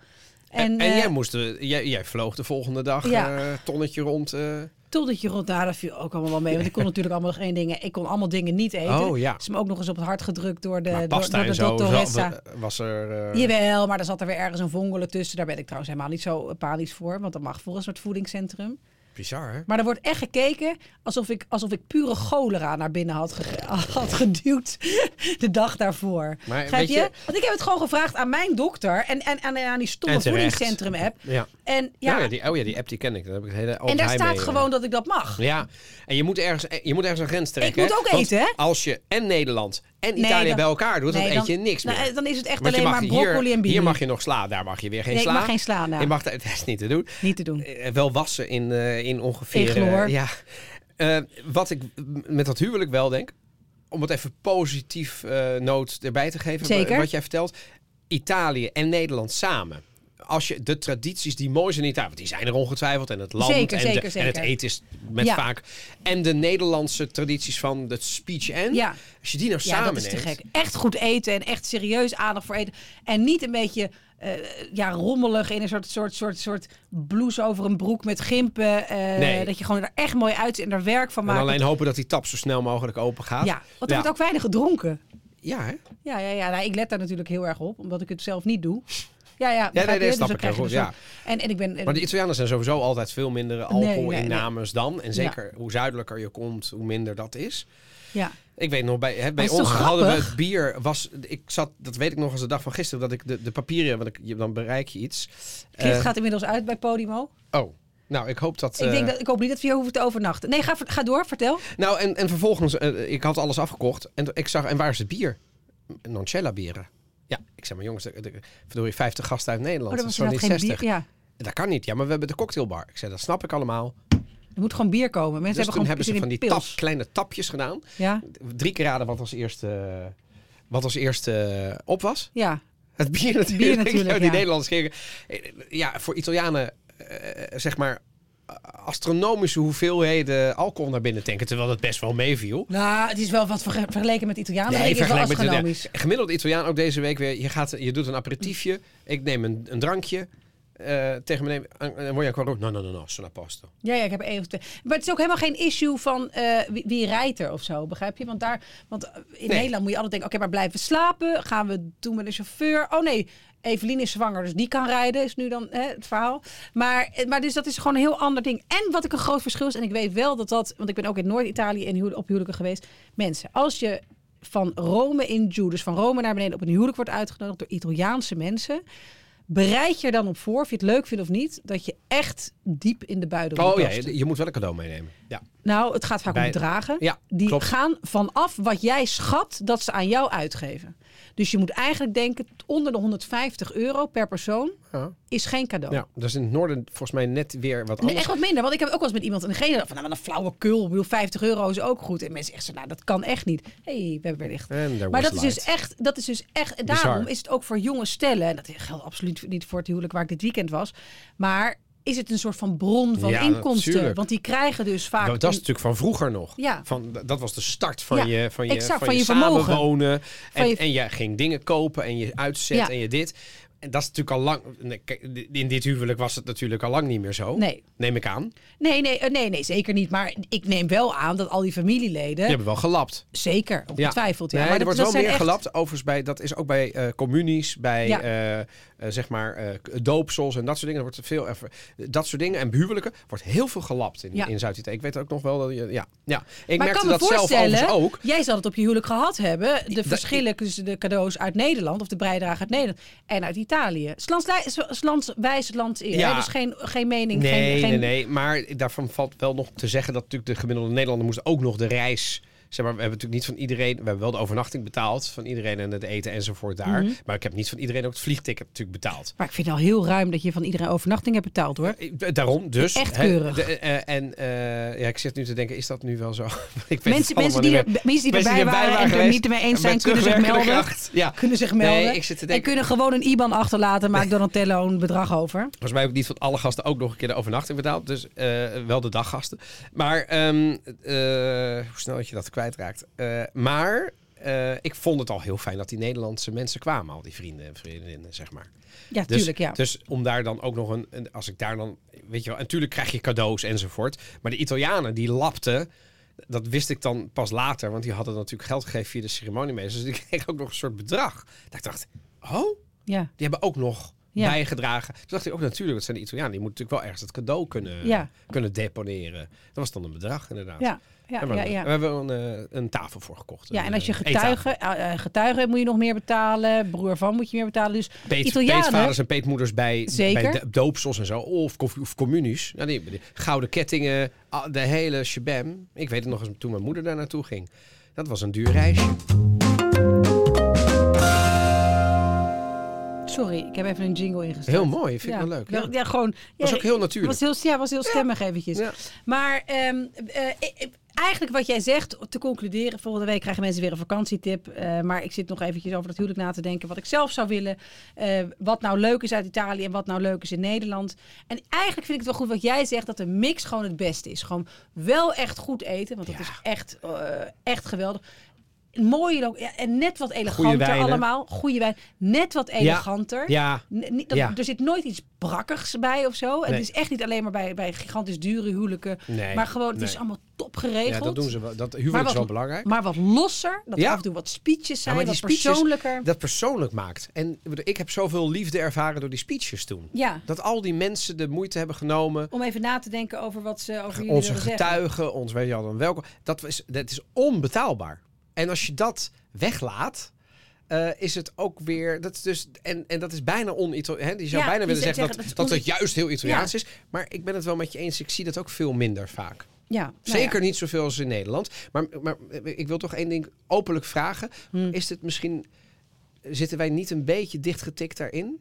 B: En, en
A: eh,
B: jij, moest, eh, jij, jij vloog de volgende dag
A: Ja.
B: eh, tonnetje rond. eh.
A: Totdat je rond daar, dat viel ook allemaal wel mee. Want ik kon natuurlijk allemaal nog één ding. Ik kon allemaal dingen niet eten.
B: Oh, ja.
A: Is me ook nog eens op het hart gedrukt door de,
B: maar
A: door,
B: pasta
A: door de
B: en zo
A: dottoressa.
B: wa- was er... eh,
A: Jawel, maar er zat er weer ergens een vongole tussen. Daar ben ik trouwens helemaal niet zo eh, panisch voor. Want dat mag voor een soort voedingscentrum.
B: bizar, hè?
A: Maar er wordt echt gekeken alsof ik, alsof ik pure cholera naar binnen had, gege- had geduwd de dag daarvoor.
B: Maar
A: Begrijp
B: weet
A: je?
B: je-
A: Want ik heb het gewoon gevraagd aan mijn dokter en, en, en, en aan die stomme
B: En terecht.
A: voedingscentrum-app.
B: Ja.
A: En ja,
B: Ja. ja, die, oh ja, die app die ken ik. Daar heb ik het hele
A: en daar
B: Albert
A: staat
B: Heijn mee,
A: gewoon dat ik dat mag.
B: eh. Ja, en je moet ergens, eh, je moet ergens een grens trekken.
A: moet
B: hè?
A: ook
B: Want
A: eten, hè?
B: als je en Nederland en
A: Nee,
B: Italië
A: dan-
B: bij elkaar doet,
A: nee,
B: dan, eet je niks meer.
A: nou, eh, dan is het echt
B: Want je
A: alleen
B: mag
A: maar broccoli
B: hier,
A: en bier.
B: Hier mag je nog sla, daar mag je weer geen
A: Nee, ik
B: sla.
A: mag geen sla, nou.
B: Je mag, dat is niet te doen.
A: Niet te doen.
B: Eh, wel wassen in, eh, in ongeveer.
A: In chloor.
B: eh, ja. Eh, wat ik m- met dat huwelijk wel denk, om het even positief eh noot erbij te geven,
A: Zeker.
B: wa- wat jij vertelt, Italië en Nederland samen. Als je de tradities die mooi zijn in Italië, want die zijn er ongetwijfeld, en het land
A: Zeker,
B: en,
A: zeker,
B: de-
A: zeker.
B: en het eten is met
A: Ja.
B: vaak. En de Nederlandse tradities van het speech en.
A: Ja.
B: Als je die nou
A: Ja,
B: samen
A: dat is te
B: neemt,
A: gek. Echt goed eten en echt serieus aandacht voor eten. En niet een beetje eh, ja, rommelig in een soort, soort, soort, soort blouse over een broek met gimpen. eh,
B: Nee.
A: Dat je gewoon er echt mooi uitziet en er werk van
B: En
A: maakt.
B: alleen hopen dat die tap zo snel mogelijk open gaat.
A: Ja, want er
B: ja.
A: wordt ook weinig gedronken.
B: Ja, hè?
A: Ja, ja, ja. Nou, ik let daar natuurlijk heel erg op, omdat ik het zelf niet doe. Ja, ja.
B: nee,
A: begrijp je?
B: nee,
A: Dus
B: snap
A: dan
B: ik heel
A: krijg je
B: goed,
A: dus zo- En, en ik ben...
B: Maar de Italianen zijn sowieso altijd veel minder
A: nee,
B: alcoholinnames dan. En zeker hoe zuidelijker je komt, hoe minder dat is.
A: ja.
B: Ik weet nog, bij, hè, bij
A: is toch
B: ons hadden we
A: grappig?
B: het bier. Was, ik zat, dat weet ik nog als de dag van gisteren, dat ik de, de papieren, want ik, je- dan bereik je iets.
A: Gift
B: Eh,
A: gaat inmiddels uit bij Podimo.
B: Oh, nou, ik hoop dat.
A: ik, denk
B: eh,
A: dat, ik hoop niet dat we hier hoeven te overnachten. Nee, ga, ver- ga door. Vertel.
B: Nou, en, en vervolgens, eh, ik had alles afgekocht en ik zag, en waar is het bier? Noncella bieren. Ja, ik zeg maar jongens, de, de, verdorie, 50 gasten uit Nederland.
A: Oh, dat
B: dat
A: was
B: is toch niet
A: inderdaad geen
B: 60.
A: bier. Ja.
B: Dat kan niet. Ja, maar we hebben de cocktailbar. Ik zei, dat snap ik allemaal.
A: Er moet gewoon bier komen. Mensen
B: Dus
A: hebben
B: toen
A: gewoon
B: hebben ze
A: zin
B: van
A: in
B: die tap,
A: pils.
B: kleine tapjes gedaan.
A: Ja,
B: Drie keer raden wat als eerste, wat als eerste eh, op was.
A: ja.
B: Het bier natuurlijk.
A: bier natuurlijk,
B: Ja, die
A: ja.
B: Nederlanders gingen... Ja, voor Italianen, eh, zeg maar, eh, astronomische hoeveelheden alcohol naar binnen tanken. Terwijl dat best wel meeviel.
A: Nou, het is wel wat verge- vergeleken met Italianen.
B: Nee,
A: denk ik, is wel
B: vergelijk met de-
A: astronomisch.
B: Gemiddeld Italiaan ook deze week weer. Je, gaat, je doet een aperitiefje. Ik neem een, een drankje. eh, tegen me neem... En dan word je ook wel rood. No, no, no, no. Sono a posto.
A: Ja, ja, ik heb één of twee. Maar het is ook helemaal geen issue van eh, wie, wie rijdt er of zo, begrijp je? Want, daar, want eh, in
B: Nee.
A: Nederland moet je altijd denken, oké, maar blijven we slapen? Gaan we doen met een chauffeur? Oh nee, Evelien is zwanger, dus die kan rijden, is nu dan hè, het verhaal. Maar, eh, maar dus dat is gewoon een heel ander ding. En wat ik een groot verschil is, en ik weet wel dat dat... Want ik ben ook in Noord-Italië in huwel- op huwelijken geweest. Mensen, als je van Rome in Jew, dus van Rome naar beneden op een huwelijk wordt uitgenodigd door Italiaanse mensen... Bereid je er dan op voor, of je het leuk vindt of niet, dat je echt diep in de buidel moet
B: Oh ja,
A: tasten.
B: je, je moet wel een cadeau meenemen. Ja.
A: Nou, het gaat vaak om
B: Bij-
A: dragen.
B: Ja,
A: die
B: klopt.
A: gaan vanaf wat jij schat dat ze aan jou uitgeven. Dus je moet eigenlijk denken, onder de 150 euro per persoon
B: Ja.
A: is geen cadeau.
B: Ja, dat is in het noorden volgens mij net weer wat
A: Oh. Nee,
B: anders.
A: echt wat minder. Want ik heb ook wel eens met iemand en degene dacht van, nou, maar een flauwekul. Ik bedoel, 50 euro is ook goed. En mensen zeggen, zo, nou, dat kan echt niet. hey, we hebben wellicht.
B: En daar
A: Maar
B: was
A: dat is, dus
B: light.
A: echt, dat is dus echt. En
B: Bizar.
A: daarom is het ook voor jonge stellen. En dat geldt absoluut niet voor het huwelijk waar ik dit weekend was. Maar is het een soort van bron van
B: Ja,
A: inkomsten?
B: natuurlijk.
A: Want die krijgen dus vaak.
B: Nou, Dat, dat is
A: een-
B: natuurlijk van vroeger nog.
A: Ja.
B: Van, d- dat was de start van
A: Ja,
B: je, van je,
A: exact,
B: van
A: van
B: je,
A: je vermogen.
B: samenwonen.
A: Van
B: En,
A: je-
B: en je ging dingen kopen en je uitzet
A: Ja.
B: en je dit. En dat is natuurlijk al lang. nee, kijk, In dit huwelijk was het natuurlijk al lang niet meer zo.
A: Nee.
B: Neem ik aan. Je
A: Nee, nee, eh, nee, nee, zeker niet. Maar ik neem wel aan dat al die familieleden...
B: hebben wel gelapt.
A: Zeker, ongetwijfeld. Ja.
B: Nee,
A: maar
B: er
A: dat-
B: wordt
A: dat
B: wel
A: zijn
B: meer
A: echt-
B: gelapt. Overigens, bij, dat is ook bij eh, communies, bij
A: Ja.
B: eh, eh, zeg maar eh, k- doopsels en dat soort dingen. Er wordt veel, even- dat soort dingen en huwelijken wordt heel veel gelapt in,
A: Ja.
B: in zuid Ik weet ook nog wel dat je, ja, ja. Ik
A: maar ik
B: merkte
A: kan me
B: dat zelf overigens
A: voorstellen,
B: ook.
A: jij zal het op je huwelijk gehad hebben. De
B: dat-
A: verschillen tussen de cadeaus uit Nederland, of de bijdrage uit Nederland, en uit Italië. Slandswijs land eer.
B: Ja.
A: hè? Dus geen, geen mening.
B: Nee,
A: geen, geen...
B: nee, nee. Maar daarvan valt wel nog te zeggen dat natuurlijk de gemiddelde Nederlander moest ook nog de reis. Zeg maar, we hebben natuurlijk niet van iedereen. We hebben wel de overnachting betaald van iedereen en het eten enzovoort daar.
A: Mhm.
B: Maar ik heb niet van iedereen ook het vliegticket natuurlijk betaald.
A: Maar ik vind het al heel ruim dat je van iedereen overnachting hebt betaald, hoor.
B: Eh, d- Daarom dus.
A: Echt
B: hè,
A: keurig.
B: de- eh, en eh, ja, ik zit nu te denken, is dat nu wel zo? ik weet
A: Mensen,
B: het allemaal
A: mensen, die,
B: niet
A: er,
B: meer.
A: mensen die
B: Mensen
A: erbij waren en het er
B: geweest,
A: niet mee eens zijn,
B: met
A: kunnen zich melden.
B: terugwerkende kracht. Ja.
A: Kunnen zich melden.
B: Nee, ik zit te
A: En
B: denken.
A: kunnen gewoon een IBAN achterlaten. Maak Donatello een bedrag over.
B: Volgens mij heb ik niet van alle gasten ook nog een keer de overnachting betaald. Dus eh, wel de daggasten. Maar ehm, eh, hoe snel dat je dat kwijtraakt. Eh, maar eh, ik vond het al heel fijn dat die Nederlandse mensen kwamen. Al die vrienden en vriendinnen, zeg maar.
A: Ja,
B: Dus,
A: tuurlijk, ja.
B: dus om daar dan ook nog een, een- Als ik daar dan... Weet je wel, en tuurlijk krijg je cadeaus enzovoort. Maar de Italianen, die lapten... Dat wist ik dan pas later. Want die hadden natuurlijk geld gegeven via de ceremoniemeester. Dus ik kreeg ook nog een soort bedrag. Dat ik dacht, oh...
A: ja.
B: Die hebben ook nog
A: Ja.
B: bijgedragen. Toen dacht ik ook natuurlijk, dat zijn de Italianen. Die moeten natuurlijk wel ergens het cadeau kunnen,
A: Ja.
B: kunnen deponeren. Dat was dan een bedrag inderdaad.
A: Ja, ja,
B: En we,
A: ja,
B: hebben-
A: ja.
B: we hebben een, eh, een tafel voor gekocht.
A: Ja,
B: Een,
A: en als je
B: eh, eettafel.
A: getuigen, eh, eh, getuigen moet je nog meer betalen. Broer van moet je meer betalen. Dus
B: Peet,
A: Italianen.
B: peetvaders en peetmoeders bij,
A: Zeker.
B: bij de- doopsels en zo. Of, co- of communies. Ja, die, die gouden kettingen, ah, de hele shebam. Ik weet het nog eens toen mijn moeder daar naartoe ging. Dat was een duur reisje.
A: Sorry, ik heb even een jingle ingesteld.
B: Heel mooi, vind ik wel leuk.
A: Ja,
B: Ja.
A: ja, gewoon.
B: Was
A: ja,
B: ook heel natuurlijk.
A: Was heel, ja, was heel stemmig eventjes.
B: Ja.
A: Maar ehm, eh, eh, eigenlijk wat jij zegt, te concluderen. Volgende week krijgen mensen weer een vakantietip. eh, maar ik zit nog eventjes over dat huwelijk na te denken. Wat ik zelf zou willen. eh, wat nou leuk is uit Italië en wat nou leuk is in Nederland. En eigenlijk vind ik het wel goed wat jij zegt. Dat de mix gewoon het beste is. Gewoon wel echt goed eten. Want dat is echt, eh, echt geweldig. Mooie lo- ja, en net wat eleganter
B: wijnen.
A: allemaal. Goede wijn. Net wat eleganter.
B: Ja,
A: N- niet dat-
B: Ja.
A: Er zit nooit iets brakkigs bij of zo. En
B: Nee.
A: Het is echt niet alleen maar bij, bij gigantisch dure huwelijken.
B: Nee,
A: maar gewoon, het is
B: nee.
A: allemaal top geregeld.
B: ja, dat doen ze wel. Dat
A: Maar
B: huwelijk is
A: wat-
B: wel belangrijk.
A: Maar wat losser. Dat er
B: Ja.
A: af en toe wat speeches
B: Ja,
A: zijn,
B: maar
A: wat
B: die speeches-
A: persoonlijker.
B: dat persoonlijk maakt. En ik bedoel, ik heb zoveel liefde ervaren door die speeches toen.
A: Ja,
B: Dat al die mensen de moeite hebben genomen.
A: om even na te denken over wat ze over jullie
B: Onze
A: willen zeggen.
B: getuigen, ons weet je al dan welkom. Dat is, dat is onbetaalbaar. En als je dat weglaat, eh, is het ook weer. Dat is dus, en, en dat is bijna on-Italiaans. Je zou
A: Ja,
B: bijna
A: je
B: willen
A: zou zeggen, dat
B: zeggen, dat
A: is
B: dat,
A: on-
B: het juist heel Italiaans is. Maar ik ben het wel met je eens. Ik zie dat ook veel minder vaak.
A: Ja, nou ja.
B: Zeker niet zoveel als in Nederland. Maar, maar ik wil toch één ding openlijk vragen.
A: Hmm.
B: Is het misschien. Zitten wij niet een beetje dichtgetikt daarin?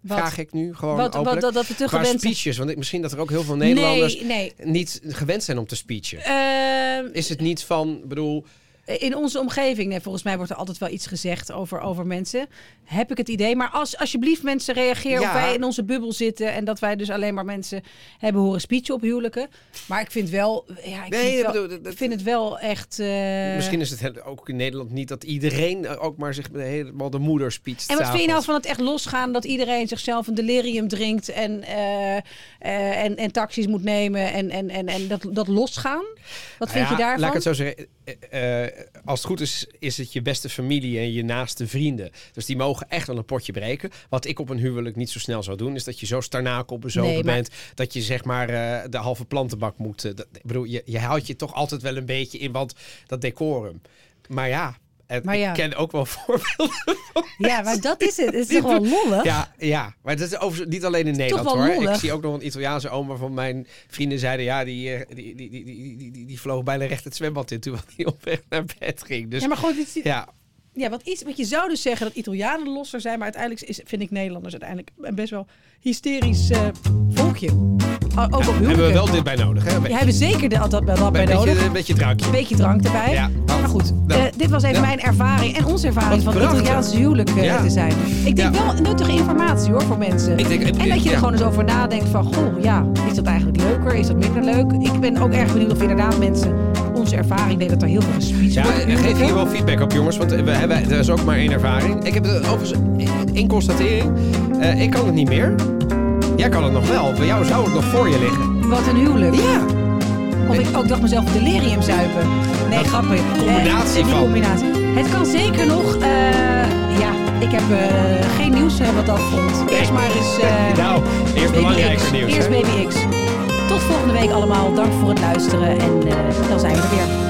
A: Wat-
B: Vraag ik nu gewoon
A: wat, wat,
B: openlijk.
A: dat, dat we te
B: Qua
A: gewend zijn.
B: speeches, want ik, misschien dat er ook heel veel Nederlanders Eh,
A: Nee, nee.
B: niet gewend zijn om te speechen.
A: Ehm,
B: Is het niet van, ik bedoel,
A: In onze omgeving, nee, volgens mij wordt er altijd wel iets gezegd over, over mensen. Heb ik het idee. Maar als alsjeblieft mensen reageer
B: Ja.
A: of wij in onze bubbel zitten. En dat wij dus alleen maar mensen hebben horen speechen op huwelijken. Maar ik vind wel, ja, ik
B: Nee,
A: vind,
B: ik
A: het wel,
B: bedoel, dat- dat-
A: ik vind het wel echt... eh,
B: misschien is het he- ook in Nederland niet dat iedereen eh, ook maar zich helemaal de moeder speecht.
A: En wat vind je nou
B: s'avonds.
A: van het echt losgaan dat iedereen zichzelf een delirium drinkt en, eh, eh, en, en taxis moet nemen en, en, en, en dat, dat losgaan? Wat vind
B: Nou
A: je
B: ja,
A: daarvan?
B: Laat ik het zo zeggen. eh, eh, als het goed is, is het je beste familie en je naaste vrienden. Dus die mogen echt wel een potje breken. Wat ik op een huwelijk niet zo snel zou doen, is dat je zo starnakel bezopen
A: Nee, maar-
B: bent. Dat je zeg maar eh, de halve plantenbak moet. eh, dat, ik bedoel, je, je houdt je toch altijd wel een beetje in, want dat decorum. Maar ja. het-
A: Maar ja.
B: Ik ken ook wel voorbeelden.
A: Ja, maar dat is het. Het is toch wel lollig?
B: Ja, ja, maar dat is overigens niet alleen in Nederland
A: wel
B: hoor. Ik
A: lollig.
B: zie ook nog een Italiaanse oma van mijn vrienden zeiden... ja, die, eh, die, die, die, die, die, die, die vloog bijna recht het zwembad in... toen hij op weg naar bed ging. Dus
A: Ja, maar gewoon, dit, is-
B: Ja,
A: Ja, want, iets, want je zou dus zeggen dat Italianen losser zijn, maar uiteindelijk is, vind ik Nederlanders uiteindelijk een best wel hysterisch eh, volkje. O- ook op huwelijken.
B: hebben we wel dit bij nodig. Hè? Een
A: Ja,
B: beetje,
A: hebben zeker de, dat bij, dat bij
B: een
A: nodig.
B: beetje, een beetje drankje.
A: beetje drank erbij.
B: Ja, want-
A: maar goed,
B: Ja.
A: eh, dit was even
B: Ja.
A: mijn ervaring en onze ervaring
B: Wat
A: van het
B: prachtig.
A: Italiaanse huwelijk eh,
B: Ja.
A: te zijn. Ik denk
B: Ja.
A: wel nuttige informatie hoor voor mensen.
B: Ik denk- ik-
A: en dat je er
B: ja.
A: gewoon eens over nadenkt van, goh, ja, is dat eigenlijk leuker? Is dat minder leuk? Ik ben ook erg benieuwd of inderdaad mensen onze ervaring deed dat er heel veel gespiesd
B: Ja,
A: wordt.
B: geef hier wel feedback op, jongens, want we hebben, er is ook maar één ervaring. Ik heb er overigens één constatering. Eh, ik kan het niet meer. Jij kan het nog wel. Bij jou zou het nog voor je liggen.
A: Wat een huwelijk.
B: Ja.
A: Of ik ook dacht mezelf delirium zuipen. Nee,
B: Dat-
A: grappig.
B: combinatie
A: Eh, die
B: van.
A: combinatie. Het kan zeker nog. eh, ja, ik heb eh, geen nieuws eh, wat dat vond. Eerst maar eens. eh,
B: nou, eerst
A: Baby X.
B: belangrijkste nieuws.
A: Eerst
B: hè?
A: Baby X. Tot volgende week allemaal. Dank voor het luisteren. En eh, dan zijn we er weer.